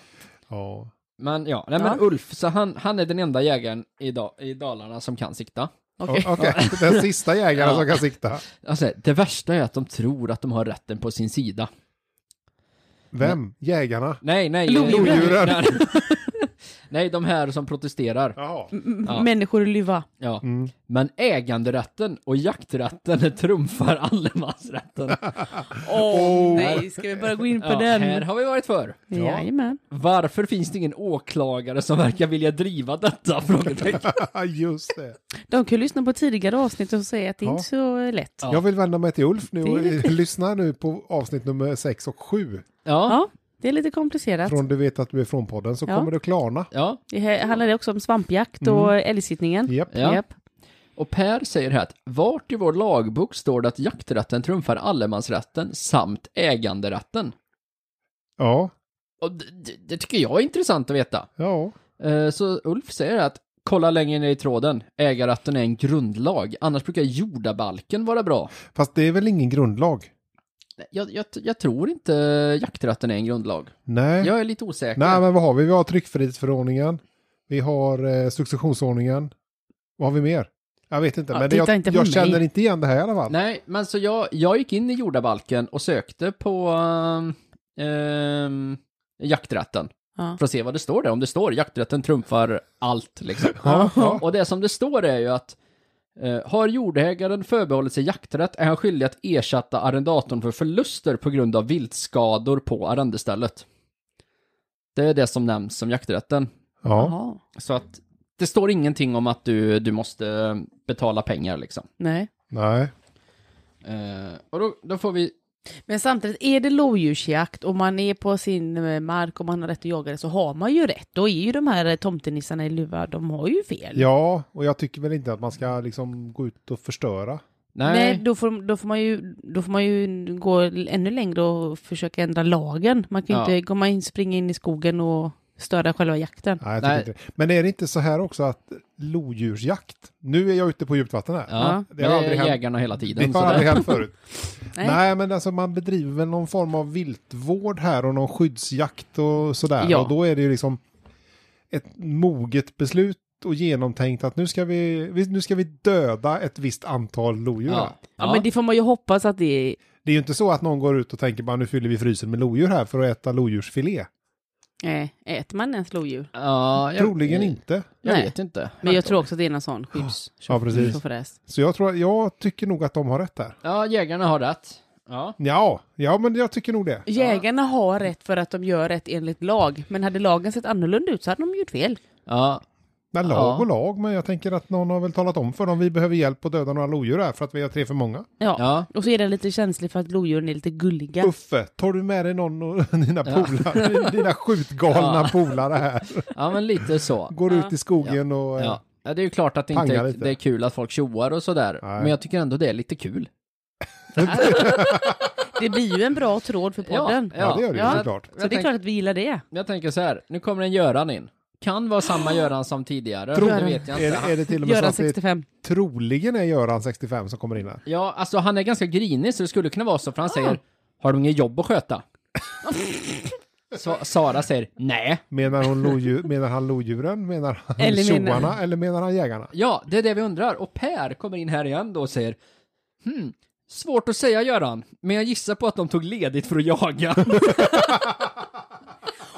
Speaker 1: Ja.
Speaker 2: Men ja, nej men
Speaker 3: Ja.
Speaker 2: Ulf, så han, han är den enda jägaren i, da, i Dalarna som kan sikta.
Speaker 3: Okej.
Speaker 1: O- Okej, den sista jägaren
Speaker 2: Ja.
Speaker 1: som kan sikta.
Speaker 2: Alltså, det värsta är att de tror att de har rätten på sin sida.
Speaker 1: Vem? Jägarna?
Speaker 2: Nej, nej.
Speaker 1: Lodjuren.
Speaker 2: Nej. nej, de här som protesterar.
Speaker 1: Jaha.
Speaker 3: M-
Speaker 2: Ja.
Speaker 3: Människor luva.
Speaker 2: Ja.
Speaker 1: Mm.
Speaker 2: Men äganderätten och jakträtten trumfar allemansrätten.
Speaker 3: Åh
Speaker 1: Oh.
Speaker 3: nej, ska vi bara gå in på
Speaker 2: Ja,
Speaker 3: den?
Speaker 2: här har vi varit för.
Speaker 3: Jajamän.
Speaker 2: Varför finns det ingen åklagare som verkar vilja driva detta? Frågetecken.
Speaker 1: Just det.
Speaker 3: De kan ju lyssna på tidigare avsnitt och säga att det
Speaker 1: Ja.
Speaker 3: inte är så lätt.
Speaker 2: Ja.
Speaker 1: Jag vill vända mig till Ulf nu
Speaker 3: Det är
Speaker 1: och
Speaker 3: lite-
Speaker 1: lyssna nu på avsnitt nummer 6 och 7.
Speaker 2: Ja,
Speaker 3: Ja, det är lite komplicerat.
Speaker 1: Från Du vet att du är från podden så
Speaker 3: Ja.
Speaker 1: kommer det klarna.
Speaker 2: ja.
Speaker 3: Det här handlar också om svampjakt och älgsittningen.
Speaker 1: Japp.
Speaker 2: Ja.
Speaker 3: Japp.
Speaker 2: Och Per säger här att vart i vår lagbok står det att jakträtten trumfar allemansrätten samt äganderätten?
Speaker 1: Ja.
Speaker 2: Och det, det- det tycker jag är intressant att veta.
Speaker 1: Ja.
Speaker 2: Eh, Så Ulf säger att kolla längre ner i tråden, ägarrätten är en grundlag, annars brukar jordabalken vara bra.
Speaker 1: Fast det är väl ingen grundlag?
Speaker 2: Jag, jag, jag tror inte jakträtten är en grundlag.
Speaker 1: Nej.
Speaker 2: Jag är lite osäker.
Speaker 1: Nej, men vad har vi? Vi har tryckfrihetsförordningen. Vi har eh, successionsordningen. Vad har vi mer? Jag vet inte,
Speaker 3: Ja,
Speaker 1: men det,
Speaker 3: titta
Speaker 1: jag,
Speaker 3: inte på
Speaker 1: jag
Speaker 3: mig.
Speaker 1: känner inte igen det här i alla fall.
Speaker 2: Nej, men så jag, jag gick in i jordabalken och sökte på ehm, ehm, jakträtten
Speaker 3: Ja.
Speaker 2: för att se vad det står där. Om det står jakträtten trumfar allt liksom.
Speaker 1: Ja, ja.
Speaker 2: Och det som det står är ju att eh, har jordägaren förbehållit sig jakträtt är han skyldig att ersätta arrendatorn för förluster på grund av viltskador på arrendestället. Det är det som nämns som jakträtten.
Speaker 1: ja.
Speaker 3: Jaha.
Speaker 2: Så att det står ingenting om att du, du måste betala pengar liksom.
Speaker 3: Nej.
Speaker 1: Nej.
Speaker 2: Eh, och då, då får vi
Speaker 3: Men samtidigt, är det lodjursjakt och man är på sin eh, mark och man har rätt att jaga det så har man ju rätt. Då är ju de här eh, tomtenissarna i luva, de har ju fel.
Speaker 1: Ja, och jag tycker väl inte att man ska liksom gå ut och förstöra.
Speaker 2: Nej,
Speaker 3: Nej, då, får, då, får man ju, då får man ju gå ännu längre och försöka ändra lagen. Man kan ju
Speaker 2: Ja.
Speaker 3: inte komma in, springa in i skogen och störa själva jakten.
Speaker 1: Nej, jag tycker
Speaker 2: Nej.
Speaker 1: Inte. det. Men är det inte så här också att lodjursjakt, nu är jag ute på djupt vatten här.
Speaker 2: ja,
Speaker 1: Det
Speaker 2: det
Speaker 1: har
Speaker 2: är
Speaker 1: aldrig hänt.
Speaker 2: jägarna hela tiden.
Speaker 1: Det
Speaker 2: Så
Speaker 1: har aldrig
Speaker 2: det,
Speaker 1: hänt förut. Nej.
Speaker 3: Nej.
Speaker 1: men alltså man bedriver väl någon form av viltvård här och någon skyddsjakt och sådär.
Speaker 3: Ja.
Speaker 1: Och då är det ju liksom ett moget beslut och genomtänkt att nu ska vi, vi- nu ska vi döda ett visst antal lodjur. här.
Speaker 2: ja.
Speaker 3: Ja, men det får man ju hoppas att det är...
Speaker 1: Det är ju inte så att någon går ut och tänker bara nu fyller vi frysen med lodjur här för att äta lodjursfilé.
Speaker 3: Eh, äter man ens lodjur?
Speaker 2: ja, jag,
Speaker 1: Troligen inte.
Speaker 2: Jag
Speaker 3: Nej.
Speaker 2: vet inte.
Speaker 3: Men jag tror också att det är någon sån skydds...
Speaker 1: Ja, precis.
Speaker 3: chaufförs.
Speaker 1: Så jag, tror, jag tycker nog att de har rätt där.
Speaker 2: Ja, jägarna har rätt. Ja.
Speaker 1: Ja, ja men jag tycker nog det.
Speaker 3: Jägarna har rätt för att de gör rätt enligt lag, men hade lagen sett annorlunda ut så hade de gjort fel.
Speaker 2: Ja,
Speaker 1: Nej, lag
Speaker 2: Ja.
Speaker 1: och lag, men jag tänker att någon har väl talat om för dem vi behöver hjälp att döda några lodjur här för att vi har tre för många.
Speaker 3: Ja.
Speaker 2: ja.
Speaker 3: Och så är den lite känslig för att lodjuren är lite gulliga.
Speaker 1: Uffe, tar du med dig någon av dina polare, dina skjutgalna polare här?
Speaker 2: ja men lite så.
Speaker 1: Går
Speaker 3: Ja.
Speaker 1: ut i skogen och... eh,
Speaker 2: Ja. Ja, det är ju klart att det inte
Speaker 1: Pangar
Speaker 2: är,
Speaker 1: lite.
Speaker 2: det är kul att folk tjoar och sådär,
Speaker 1: Nej.
Speaker 2: men jag tycker ändå det är lite kul.
Speaker 3: Det blir ju en bra tråd för podden.
Speaker 1: Ja, det gör det ju
Speaker 3: Ja.
Speaker 1: såklart.
Speaker 3: Så det är klart att vi gillar det.
Speaker 2: Jag tänker så här, nu kommer en Göran in. Kan vara samma Göran som tidigare,
Speaker 1: Tror-
Speaker 2: det vet jag inte.
Speaker 1: Är, är det till och med
Speaker 3: Göran
Speaker 1: så att det
Speaker 3: 65.
Speaker 1: troligen är Göran 65 som kommer in här?
Speaker 2: Ja, alltså han är ganska grinig, så det skulle kunna vara så, för han säger Har de inget jobb att sköta? så Sara säger Nej.
Speaker 1: Menar, hon lodjur, menar han lodjuren? Menar han
Speaker 3: Eller menar-
Speaker 1: tjoarna? Eller menar han jägarna?
Speaker 2: Ja, det är det vi undrar. Och Per kommer in här igen då och säger Hmm, svårt att säga Göran, men jag gissar på att de tog ledigt för att jaga.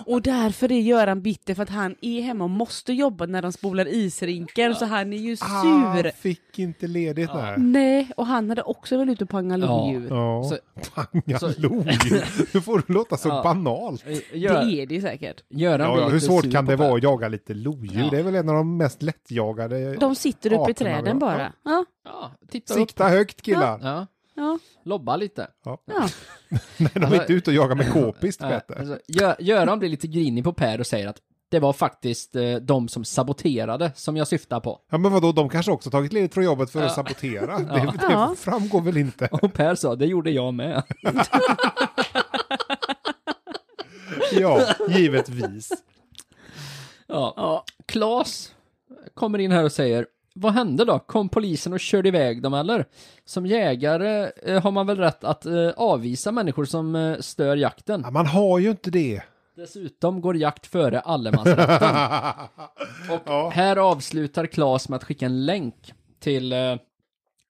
Speaker 3: Och därför är Göran bitter för att han är hemma och måste jobba när de spolar isrinken så han är ju sur.
Speaker 1: Ah, fick inte ledigt där.
Speaker 3: Nej, och han hade också varit ute och pangat
Speaker 2: Ja.
Speaker 3: lodjur.
Speaker 1: Ja,
Speaker 2: Mm. Så-
Speaker 1: pangalog. Nu får du låta så
Speaker 2: Ja.
Speaker 1: banalt.
Speaker 2: Gör,
Speaker 3: Det är det ju säkert.
Speaker 2: Eh, Göran
Speaker 1: Ja,
Speaker 2: blir
Speaker 1: ja, hur
Speaker 2: lite
Speaker 1: svårt
Speaker 2: sur
Speaker 1: kan
Speaker 2: på
Speaker 1: det
Speaker 2: Per.
Speaker 1: vara att jaga lite lodjur?
Speaker 2: Ja.
Speaker 1: Det är väl en av de mest lättjagade.
Speaker 3: De sitter uppe i
Speaker 1: Arterna,
Speaker 3: träden
Speaker 1: ja.
Speaker 3: bara. Ja,
Speaker 2: Ja, titta upp.
Speaker 1: Sikta högt killar.
Speaker 2: Ja,
Speaker 3: ja,
Speaker 2: lobba lite. Eh,
Speaker 1: Ja.
Speaker 3: ja.
Speaker 1: Nej, de är
Speaker 2: Alltså-
Speaker 1: inte ute och jagar med k-pist.
Speaker 2: Nej,
Speaker 1: vet du.
Speaker 2: alltså, Gö- Göran blir lite grinig på Per och säger att det var faktiskt eh, de som saboterade som jag syftar på.
Speaker 1: Ja men vadå, de kanske också tagit ledigt från jobbet för att
Speaker 2: Ja.
Speaker 1: sabotera. Det, det
Speaker 3: Ja.
Speaker 1: framgår väl inte.
Speaker 2: Och Per sa, det gjorde jag med.
Speaker 1: Ja, givetvis.
Speaker 2: Ja.
Speaker 3: ja.
Speaker 2: Klas kommer in här och säger Vad hände då? Kom polisen och körde iväg dem eller? Som jägare eh, har man väl rätt att eh, avvisa människor som eh, stör jakten?
Speaker 1: Ja, man har ju inte det.
Speaker 2: Dessutom går jakt före allemansrätten. och här avslutar Klas med att skicka en länk till eh,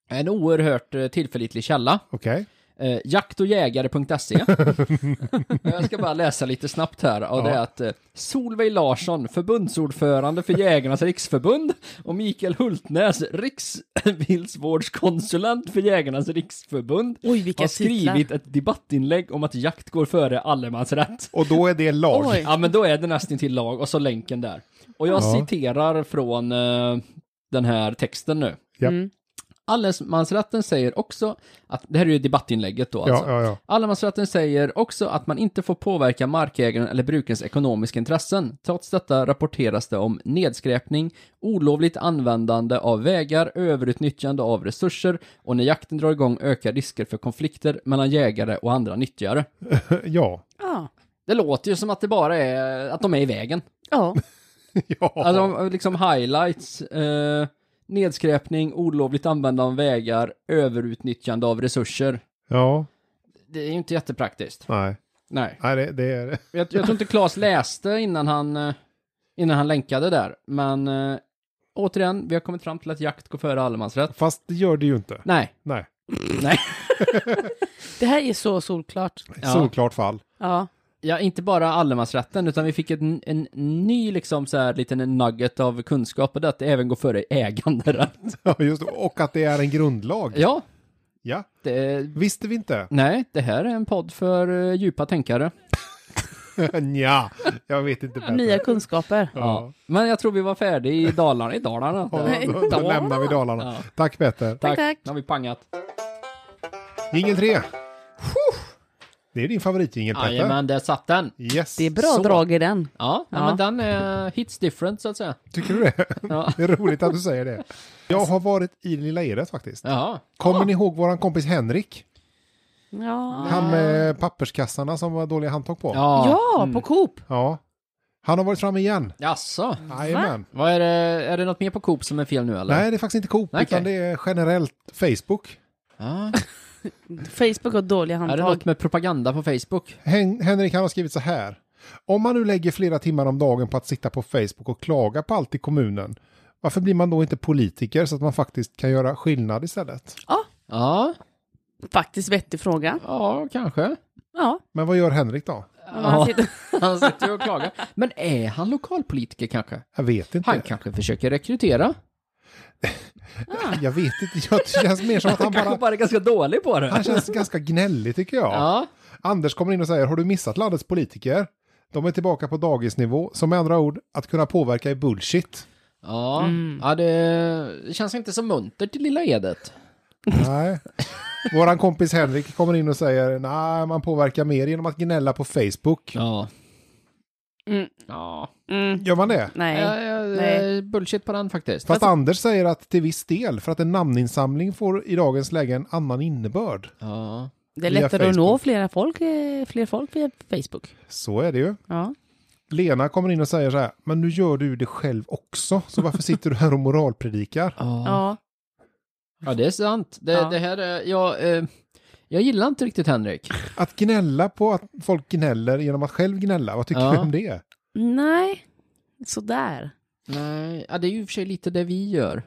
Speaker 2: en oerhört eh, tillförlitlig källa.
Speaker 1: Okej.
Speaker 2: Eh, jaktojägare.se E. Jag ska bara läsa lite snabbt här och det är att eh, Solveig Larsson, förbundsordförande för Jägarnas riksförbund och Mikael Hultnäs, riksvildsvårdskonsulent för Jägarnas riksförbund
Speaker 3: Oj, vilka
Speaker 2: har
Speaker 3: titlar.
Speaker 2: skrivit ett debattinlägg om att jakt går före allemansrätt.
Speaker 1: Och då är det lag.
Speaker 3: Oj.
Speaker 2: Ja men då är det nästan till lag och så länken där. Och jag
Speaker 1: Ja.
Speaker 2: citerar från eh, den här texten nu.
Speaker 1: Ja.
Speaker 3: Mm.
Speaker 2: Allemansrätten säger också att, det här är ju debattinlägget då alltså.
Speaker 1: Ja, ja, ja.
Speaker 2: Allemansrätten säger också att man inte får påverka markägaren eller brukarens ekonomiska intressen. Trots detta rapporteras det om nedskräpning, olovligt användande av vägar, överutnyttjande av resurser och när jakten drar igång ökar risker för konflikter mellan jägare och andra nyttjare.
Speaker 1: Ja.
Speaker 3: Ja.
Speaker 2: Det låter ju som att det bara är att de är i vägen.
Speaker 3: ja.
Speaker 1: ja.
Speaker 2: Alltså de- liksom highlights, eh, nedskräpning, olovligt användande av vägar, överutnyttjande av resurser.
Speaker 1: ja.
Speaker 2: Det är ju inte jättepraktiskt.
Speaker 1: Nej,
Speaker 2: Nej.
Speaker 1: Nej det, det är det.
Speaker 2: Jag, jag tror inte Claes läste innan han, eh, innan han länkade där, men eh, återigen, vi har kommit fram till att jakt går före allemansrätt.
Speaker 1: Fast det gör det ju inte.
Speaker 2: Nej,
Speaker 1: Nej.
Speaker 2: nej.
Speaker 3: Det här är så solklart.
Speaker 2: Ja.
Speaker 1: Solklart fall.
Speaker 3: Ja.
Speaker 2: Ja, inte bara allemansrätten, utan vi fick en, en ny liksom så här liten nugget av kunskap och det att det även går före äganderätt.
Speaker 1: Ja, just det. Och att det är en grundlag.
Speaker 2: Ja,
Speaker 1: Ja.
Speaker 2: det,
Speaker 1: Visste vi inte?
Speaker 2: nej, det här är en podd för eh, djupa tänkare.
Speaker 1: Nja, jag vet inte bättre.
Speaker 3: Nya kunskaper.
Speaker 1: Ja.
Speaker 2: Men jag tror vi var färdiga i Dalarna, i Dalarna.
Speaker 1: Ja, då, då
Speaker 3: Dalarna.
Speaker 1: lämnar vi Dalarna.
Speaker 2: Ja.
Speaker 1: Tack Peter.
Speaker 2: Tack,
Speaker 3: tack.
Speaker 2: nu har vi pangat.
Speaker 1: Jingel 3. Det är din favoritjingel Peter.
Speaker 2: Jajamän, där satt den.
Speaker 1: Yes.
Speaker 3: Det är bra
Speaker 1: Så.
Speaker 3: drag i den.
Speaker 2: Ja, ja,
Speaker 3: Ja.
Speaker 2: men den är hits different så att säga.
Speaker 1: Tycker du det?
Speaker 2: Ja.
Speaker 1: Det är roligt att du säger det. Jag har varit i Lilla Edet faktiskt.
Speaker 2: Jaha.
Speaker 1: Kommer ni ihåg våran kompis Henrik?
Speaker 3: Ja,
Speaker 1: Han
Speaker 3: Ah.
Speaker 1: med papperskassarna som var dåliga handtag på.
Speaker 3: ja på Coop.
Speaker 1: Ja. Han har varit framme igen.
Speaker 2: Jaså?
Speaker 1: Jajamän.
Speaker 2: Vad är det, är det något mer på Coop som är fel nu eller?
Speaker 1: Nej, det är faktiskt inte Coop,
Speaker 2: Nej,
Speaker 1: utan
Speaker 2: okej.
Speaker 1: det är generellt Facebook.
Speaker 2: Ja.
Speaker 3: Facebook har dåliga
Speaker 2: Är det
Speaker 3: handtag.
Speaker 2: något med propaganda på Facebook?
Speaker 1: Hen- Henrik han har skrivit så här. Om man nu lägger flera timmar om dagen på att sitta på Facebook och klaga på allt i kommunen, varför blir man då inte politiker så att man faktiskt kan göra skillnad istället?
Speaker 2: Ja,
Speaker 3: Faktiskt vettig fråga.
Speaker 2: ja kanske.
Speaker 3: Ja.
Speaker 1: Men vad gör Henrik då?
Speaker 3: Man sitter-
Speaker 2: Han sitter ju och klagar. Men är han lokalpolitiker kanske?
Speaker 1: Jag vet inte.
Speaker 2: Han kanske försöker rekrytera.
Speaker 1: Jag vet inte. Jag det känns mer som att han
Speaker 2: Han kanske
Speaker 1: bara...
Speaker 2: bara är ganska dålig på
Speaker 1: Han
Speaker 2: det.
Speaker 1: känns ganska gnällig tycker jag.
Speaker 2: Ja,
Speaker 1: Anders kommer in och säger, har du missat landets politiker? De är tillbaka på dagisnivå, som med andra ord, att kunna påverka är bullshit.
Speaker 2: ja. ja det känns inte så muntert i Lilla Edet.
Speaker 1: Nej. Våran kompis Henrik kommer in och säger, nej, man påverkar mer genom att gnälla på Facebook.
Speaker 2: Ja.
Speaker 3: Mm.
Speaker 2: Ja.
Speaker 3: Mm.
Speaker 1: Gör man det?
Speaker 3: Nej.
Speaker 2: Ja, ja,
Speaker 3: Nej.
Speaker 2: Bullshit på den faktiskt.
Speaker 1: Fast Anders säger att till viss del, för att en namninsamling får i dagens läge en annan innebörd.
Speaker 2: Ja.
Speaker 3: Det är
Speaker 1: via
Speaker 3: lättare att nå
Speaker 1: Facebook.
Speaker 3: flera folk, eh, fler folk via Facebook.
Speaker 1: Så är det ju.
Speaker 3: Ja.
Speaker 1: Lena kommer in och säger så här, men nu gör du det själv också, så varför sitter du här och moralpredikar?
Speaker 3: Ja.
Speaker 2: Ja, det är sant. Det,
Speaker 3: Ja.
Speaker 2: det här är, jag, eh, jag gillar inte riktigt Henrik.
Speaker 1: Att gnälla på att folk gnäller genom att själv gnälla, vad tycker
Speaker 2: Ja.
Speaker 1: du om det?
Speaker 3: Nej. Sådär.
Speaker 2: Nej, ja, det är ju i och för sig lite det vi gör.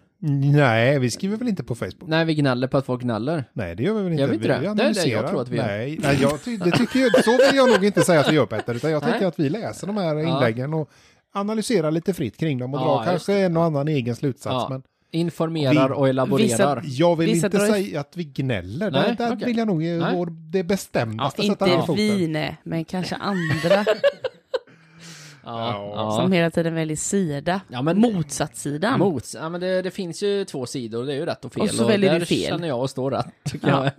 Speaker 1: Nej, vi skriver väl inte på Facebook?
Speaker 2: Nej, vi gnäller på att folk gnäller.
Speaker 1: Nej, det gör vi väl inte.
Speaker 2: Gör vi inte det?
Speaker 1: Vi
Speaker 2: Nej, nej, jag
Speaker 1: analyserar.
Speaker 2: tror att vi gör.
Speaker 1: Nej, nej jag ty- det tycker jag, så vill jag nog inte säga att vi gör Petter, utan jag
Speaker 2: Nej.
Speaker 1: tänker att vi läser de här inläggen och analyserar lite fritt kring dem och
Speaker 2: Ja,
Speaker 1: drar
Speaker 2: just
Speaker 1: kanske en och annan egen slutsats.
Speaker 2: Ja.
Speaker 1: Men
Speaker 2: Informerar
Speaker 1: Vi-
Speaker 2: och elaborerar.
Speaker 3: Vissa-
Speaker 1: jag vill
Speaker 3: Vissa
Speaker 1: inte
Speaker 3: drar-
Speaker 1: säga att vi gnäller.
Speaker 2: Nej,
Speaker 1: Nej, där
Speaker 2: okej.
Speaker 1: vill jag nog ge
Speaker 2: Nej.
Speaker 1: vår, det bestämdaste
Speaker 2: Ja,
Speaker 1: sätta ner
Speaker 3: Inte
Speaker 1: foten.
Speaker 3: vi, nej, men kanske andra
Speaker 2: Ja,
Speaker 1: Ja.
Speaker 2: ja.
Speaker 3: som hela tiden väljer sida.
Speaker 2: Ja, men-
Speaker 3: Motsatssidan.
Speaker 2: Mots. Ja, men det, det finns ju två sidor, det är ju rätt och fel.
Speaker 3: Och så väljer
Speaker 2: där
Speaker 3: du fel.
Speaker 2: känner jag och står rätt, tycker
Speaker 3: Ja.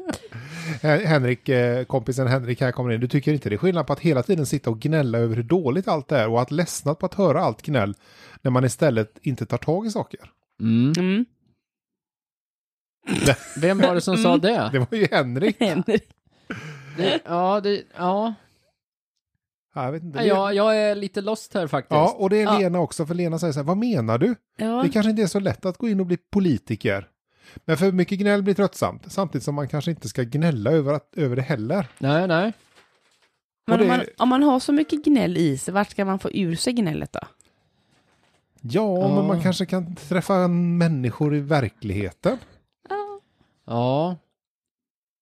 Speaker 2: jag.
Speaker 1: Hen- Henrik, eh, kompisen Henrik här kommer in. Du tycker inte det är skillnad på att hela tiden sitta och gnälla över hur dåligt allt är och att ledsna på att höra allt gnäll när man istället inte tar tag i saker.
Speaker 2: Mm.
Speaker 3: Mm.
Speaker 2: Vem var det som sa det?
Speaker 1: Det var ju Henrik.
Speaker 3: Henrik.
Speaker 2: det ja, det, ja.
Speaker 1: Ja, Jag vet inte. Det-
Speaker 2: ja, jag är lite lost här faktiskt.
Speaker 1: Ja, och det är
Speaker 3: Ja.
Speaker 1: Lena också, för Lena säger så här, vad menar du?
Speaker 3: Ja.
Speaker 1: Det kanske inte är så lätt att gå in och bli politiker. Men för mycket gnäll blir tröttsamt, samtidigt som man kanske inte ska gnälla över, att, över det heller.
Speaker 2: Nej, nej.
Speaker 3: Men
Speaker 1: och
Speaker 3: om
Speaker 1: det-
Speaker 3: man, om man har så mycket gnäll i sig, vart ska man få ur sig gnället då?
Speaker 1: Ja,
Speaker 2: Ja.
Speaker 1: men man kanske kan träffa människor i verkligheten.
Speaker 2: Ja,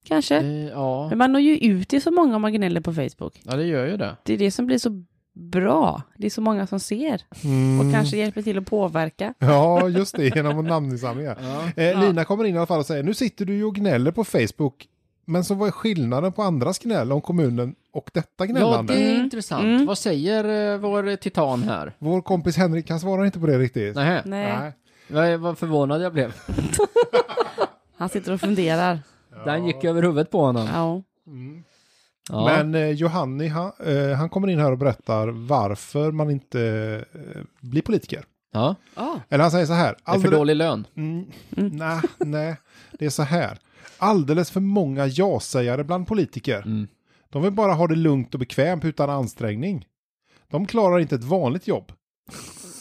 Speaker 3: Kanske.
Speaker 2: det, ja.
Speaker 3: Men man når ju ut till så många om man gnäller på Facebook.
Speaker 2: ja, det gör ju det.
Speaker 3: Det är det som blir så bra. Det är så många som ser
Speaker 2: Mm.
Speaker 3: och
Speaker 1: Mm.
Speaker 3: kanske hjälper till att påverka.
Speaker 1: Ja, just det, genom namninsamlingar.
Speaker 2: Ja.
Speaker 1: Eh,
Speaker 3: Ja.
Speaker 1: Lina kommer in i alla fall och säger, nu sitter du ju och gnäller på Facebook, men så vad är skillnaden på andras gnäll om kommunen och detta
Speaker 2: ja,
Speaker 1: gnällande?
Speaker 2: det är
Speaker 3: Mm.
Speaker 2: intressant.
Speaker 3: Mm.
Speaker 2: Vad säger eh, vår titan här?
Speaker 1: Vår kompis Henrik, han svarar inte på det riktigt.
Speaker 2: Nej.
Speaker 3: Nej,
Speaker 2: Vad, vad förvånad jag blev.
Speaker 3: han sitter och funderar.
Speaker 2: Den gick över huvudet på honom.
Speaker 3: Ja.
Speaker 2: Ja.
Speaker 1: Men eh, Johanni, han, eh, han kommer in här och berättar varför man inte eh, blir politiker.
Speaker 2: ja.
Speaker 1: Eller han säger så här.
Speaker 2: Det är för
Speaker 1: alldeles-
Speaker 2: dålig lön.
Speaker 1: Mm, nej, nej, det är så här. Alldeles för många ja-sägare bland politiker.
Speaker 2: Mm.
Speaker 1: De vill bara ha det lugnt och bekvämt utan ansträngning. De klarar inte ett vanligt jobb.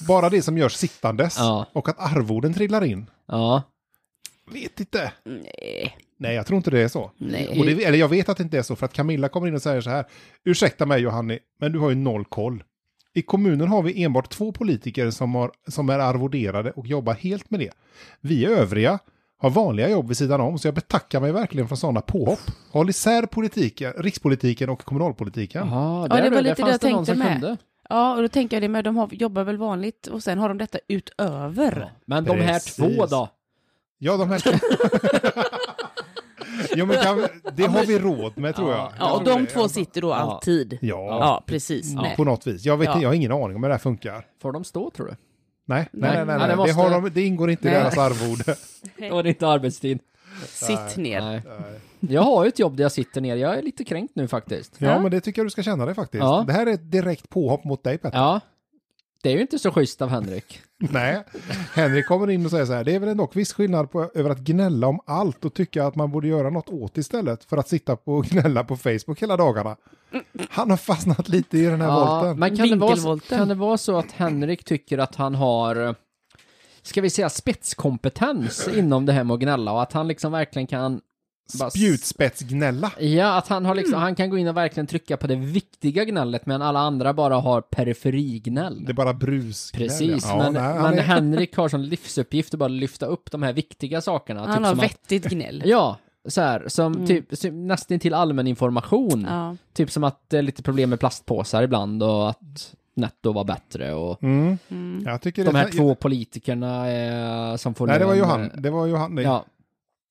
Speaker 1: Bara det som görs sittandes
Speaker 2: Ja.
Speaker 1: och att arvoden trillar in.
Speaker 2: Ja.
Speaker 1: Vet inte.
Speaker 3: Nej.
Speaker 1: Nej, jag tror inte det är så.
Speaker 3: Nej.
Speaker 1: Och det, eller jag vet att det inte är så, för att Camilla kommer in och säger så här. Ursäkta mig Johanni, men du har ju noll koll. I kommunen har vi enbart två politiker som, har, som är arvoderade och jobbar helt med det. Vi övriga har vanliga jobb vid sidan om, så jag betackar mig verkligen från sådana påhopp. Håll isär politiken, rikspolitiken och kommunalpolitiken.
Speaker 2: Jaha,
Speaker 3: Ja,
Speaker 2: där
Speaker 3: det
Speaker 2: du,
Speaker 3: var
Speaker 2: där
Speaker 3: lite det
Speaker 2: fanns
Speaker 3: jag
Speaker 2: någon
Speaker 3: tänkte
Speaker 2: som
Speaker 3: med.
Speaker 2: kunde.
Speaker 3: Ja, och då tänker jag det med, de har, jobbar väl vanligt och sen har de detta utöver.
Speaker 2: Men de här
Speaker 1: Precis.
Speaker 2: två då?
Speaker 1: Ja, de här... jo, men kan, det har vi råd med tror jag.
Speaker 3: Ja, och
Speaker 1: Jag tror
Speaker 3: de
Speaker 1: det.
Speaker 3: två sitter då alltid.
Speaker 1: Ja.
Speaker 3: Ja, precis.
Speaker 1: Ja,
Speaker 3: Nej.
Speaker 1: på något vis. Jag, vet,
Speaker 3: Ja.
Speaker 1: jag har ingen aning om hur det här funkar.
Speaker 2: Får de stå tror du?
Speaker 1: Nej, nej, nej. nej,
Speaker 2: Nej,
Speaker 1: nej.
Speaker 2: det
Speaker 1: Det,
Speaker 2: måste-
Speaker 1: har de, det ingår inte i
Speaker 3: Nej.
Speaker 1: deras arvode.
Speaker 2: Då är det inte arbetstid.
Speaker 3: Sitt Eh. ner.
Speaker 2: Nej. Jag har ju ett jobb där jag sitter ner. Jag är lite kränkt nu faktiskt.
Speaker 1: Ja,
Speaker 3: Ja.
Speaker 1: men det tycker jag du ska känna dig faktiskt.
Speaker 2: Ja.
Speaker 1: Det här är ett direkt påhopp mot dig Petter.
Speaker 2: Ja. Det är ju inte så schysst av Henrik.
Speaker 1: Nej, Henrik kommer in och säger så här, det är väl ändå viss skillnad på, över att gnälla om allt och tycka att man borde göra något åt istället för att sitta på och gnälla på Facebook hela dagarna. Han har fastnat lite i den här volten.
Speaker 2: men kan det, vara så,
Speaker 3: Vinkelvolten.
Speaker 2: kan det vara så att Henrik tycker att han har, eh, ska vi säga spetskompetens inom det här med att gnälla och att han liksom verkligen kan bara s-
Speaker 1: Spjutspetsgnälla.
Speaker 2: Ja, att han, har liksom,
Speaker 1: Mm.
Speaker 2: han kan gå in och verkligen trycka på det viktiga gnället medan alla andra bara har periferignäll.
Speaker 1: Det är bara brus.
Speaker 2: Precis,
Speaker 1: ja,
Speaker 2: men,
Speaker 1: nej, han
Speaker 2: men
Speaker 1: är-
Speaker 2: Henrik har som livsuppgift att bara lyfta upp de här viktiga sakerna.
Speaker 1: typ
Speaker 2: typ
Speaker 3: Han har
Speaker 2: som att,
Speaker 3: vettigt gnäll.
Speaker 2: Ja, så här, som
Speaker 1: Mm.
Speaker 2: typ, så- nästan till allmän information.
Speaker 3: Ja.
Speaker 2: Typ som att det är lite problem med plastpåsar ibland och att Netto var bättre och
Speaker 1: Mm. Jag tycker
Speaker 2: de
Speaker 1: det,
Speaker 2: här två politikerna eh, som får
Speaker 1: Nej, det var
Speaker 2: lön,
Speaker 1: Johan.
Speaker 2: eh,
Speaker 1: Det var Johan. Nej.
Speaker 2: Ja.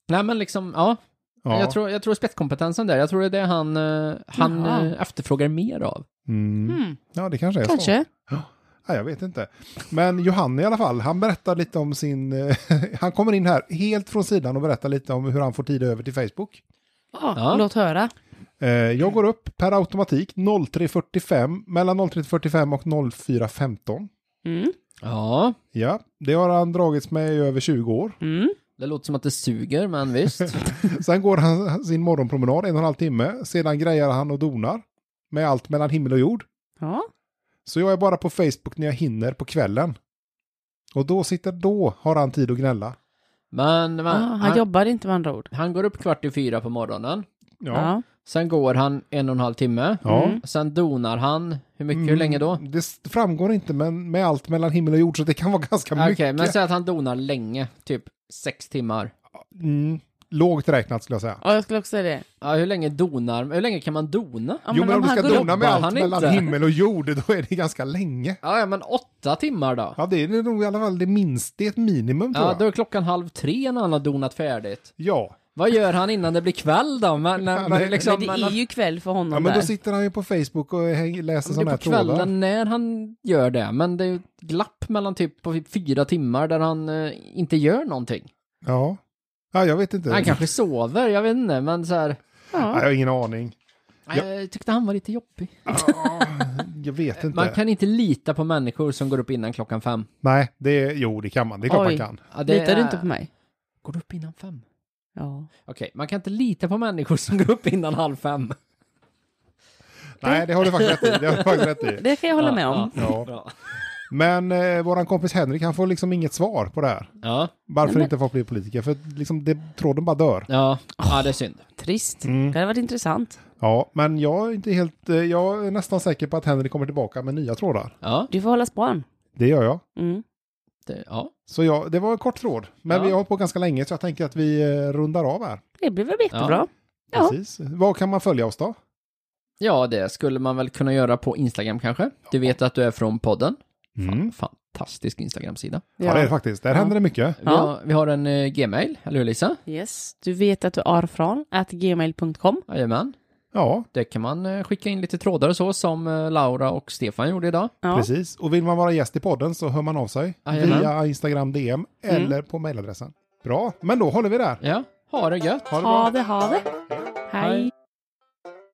Speaker 2: Nej men liksom, ja.
Speaker 1: Ja.
Speaker 2: Jag, tror, jag tror spetskompetensen där, jag tror det är det han, eh, han
Speaker 3: Jaha.
Speaker 2: eh, efterfrågar mer av.
Speaker 1: Mm.
Speaker 3: Mm.
Speaker 1: ja, det kanske är så.
Speaker 3: Kanske.
Speaker 1: Nej, jag vet inte. Men Johan i alla fall, han berättar lite om sin... eh, han kommer in här helt från sidan och berättar lite om hur han får tid över till Facebook.
Speaker 3: Ja,
Speaker 2: Ja.
Speaker 3: Låt höra.
Speaker 1: Eh, jag går upp per automatik 03.45, mellan 03.45 och 04.15.
Speaker 3: Mm.
Speaker 2: Ja,
Speaker 1: Ja, det har han dragits med i över 20 år.
Speaker 3: Mm.
Speaker 2: det låter som att det suger, men visst.
Speaker 1: Sen går han sin morgonpromenad en och en halv timme. Sedan grejar han och donar med allt mellan himmel och jord.
Speaker 3: Ja.
Speaker 1: Så jag är bara på Facebook när jag hinner på kvällen. Och då sitter då har han tid att gnälla.
Speaker 2: Men, men
Speaker 3: Ah, han
Speaker 2: han,
Speaker 3: jobbar inte med andra ord.
Speaker 2: han går upp kvart i fyra på morgonen.
Speaker 1: Ja.
Speaker 3: Ja.
Speaker 2: Sen går han en och en halv timme.
Speaker 1: Ja. Mm.
Speaker 3: Mm.
Speaker 2: Sen donar han, hur mycket, hur länge då?
Speaker 1: Det s- framgår inte, men med allt mellan himmel och jord så det kan vara ganska
Speaker 2: Okej,
Speaker 1: mycket.
Speaker 2: men säg att han donar länge, typ sex timmar.
Speaker 1: Mm, lågt räknat skulle jag säga.
Speaker 3: Ja, jag skulle också säga det.
Speaker 2: Ja, hur länge donar, hur länge kan man dona?
Speaker 3: Ja,
Speaker 1: jo, men om du
Speaker 3: han
Speaker 1: ska
Speaker 3: går upp-
Speaker 1: dona med
Speaker 2: jobbar
Speaker 1: allt
Speaker 2: han
Speaker 1: mellan
Speaker 2: inte.
Speaker 1: himmel och jord, då är det ganska länge.
Speaker 2: Ja, ja, men åtta timmar då?
Speaker 1: Ja, det är nog i alla fall det minsta, det är ett minimum tror
Speaker 2: Ja, då
Speaker 1: jag.
Speaker 2: är klockan halv tre när han har donat färdigt.
Speaker 1: Ja.
Speaker 2: Vad gör han innan det blir kväll då? Men, när,
Speaker 1: men-
Speaker 2: när, liksom,
Speaker 3: Men
Speaker 2: men
Speaker 3: det är ju kväll för honom
Speaker 1: ja, men då
Speaker 3: där.
Speaker 1: sitter han ju på Facebook och häng- läser
Speaker 2: det är
Speaker 1: sådana här
Speaker 2: på
Speaker 1: trådar.
Speaker 2: kvällen när han gör det, men det är ju ett glapp mellan typ på fyra timmar där han eh, inte gör någonting.
Speaker 1: Ja. ja, jag vet inte.
Speaker 2: Han kanske sover, jag vet inte, men så här,
Speaker 1: ja, jag har ingen aning. Ja.
Speaker 2: eh, jag tyckte han var lite jobbig.
Speaker 1: Ja, jag vet inte.
Speaker 2: Man kan inte lita på människor som går upp innan klockan fem.
Speaker 1: Nej, det är... jo, det kan man. Det är klart
Speaker 3: Oj.
Speaker 1: man kan.
Speaker 2: Ja, det
Speaker 3: Litar du
Speaker 2: är-
Speaker 3: inte på mig?
Speaker 2: Går du upp innan fem?
Speaker 3: Ja.
Speaker 2: Okej, man kan inte lita på människor som går upp innan halv fem.
Speaker 1: Nej, det har du faktiskt rätt i. Det har du faktiskt rätt i.
Speaker 3: Det kan jag hålla
Speaker 2: Ja,
Speaker 3: med om.
Speaker 2: ja,
Speaker 1: Ja.
Speaker 2: bra.
Speaker 1: Men eh, våran kompis Henrik, han får liksom inget svar på det här.
Speaker 2: Ja,
Speaker 1: Varför
Speaker 3: Nej, men-
Speaker 1: inte folk blir politiker? För att liksom, det, tråden bara dör.
Speaker 2: ja, ja, det är synd.
Speaker 3: Trist.
Speaker 1: Mm.
Speaker 3: Det hade varit intressant.
Speaker 1: Ja, men jag är inte helt... eh, Jag är nästan säker på att Henrik kommer tillbaka med nya trådar.
Speaker 2: Ja,
Speaker 3: Du får hålla span.
Speaker 1: Det gör jag.
Speaker 3: Mm.
Speaker 2: det, ja.
Speaker 1: Så jag, det var en kort tråd. Men
Speaker 2: Ja.
Speaker 1: vi har hållit på ganska länge så jag tänker att vi eh, rundar av här.
Speaker 3: Det blir väl jättebra. Ja.
Speaker 1: Precis. Var kan man följa oss då?
Speaker 2: ja, det skulle man väl kunna göra på Instagram kanske. Du vet att du är från podden.
Speaker 1: Mm.
Speaker 2: Fan, fantastisk Instagram-sida.
Speaker 1: Ja. det är det faktiskt. Där händer det mycket.
Speaker 2: Vi,
Speaker 3: Ja.
Speaker 2: har, vi har en eh, Gmail, eller hur Lisa?
Speaker 3: Yes. Du vet att du är från at gmail.com.
Speaker 2: Jajamän.
Speaker 1: Ja,
Speaker 2: Det kan man eh, skicka in lite trådar och så, som eh, Laura och Stefan gjorde idag.
Speaker 3: Ja.
Speaker 1: precis. Och vill man vara gäst i podden så hör man av sig
Speaker 2: Jajamän.
Speaker 1: via Instagram DM
Speaker 3: Mm.
Speaker 1: eller på mejladressen. Bra, men då håller vi där.
Speaker 2: Ja, ha det gött.
Speaker 1: Ha det bra.
Speaker 3: Ha det, ha det. Hej.
Speaker 2: Hej.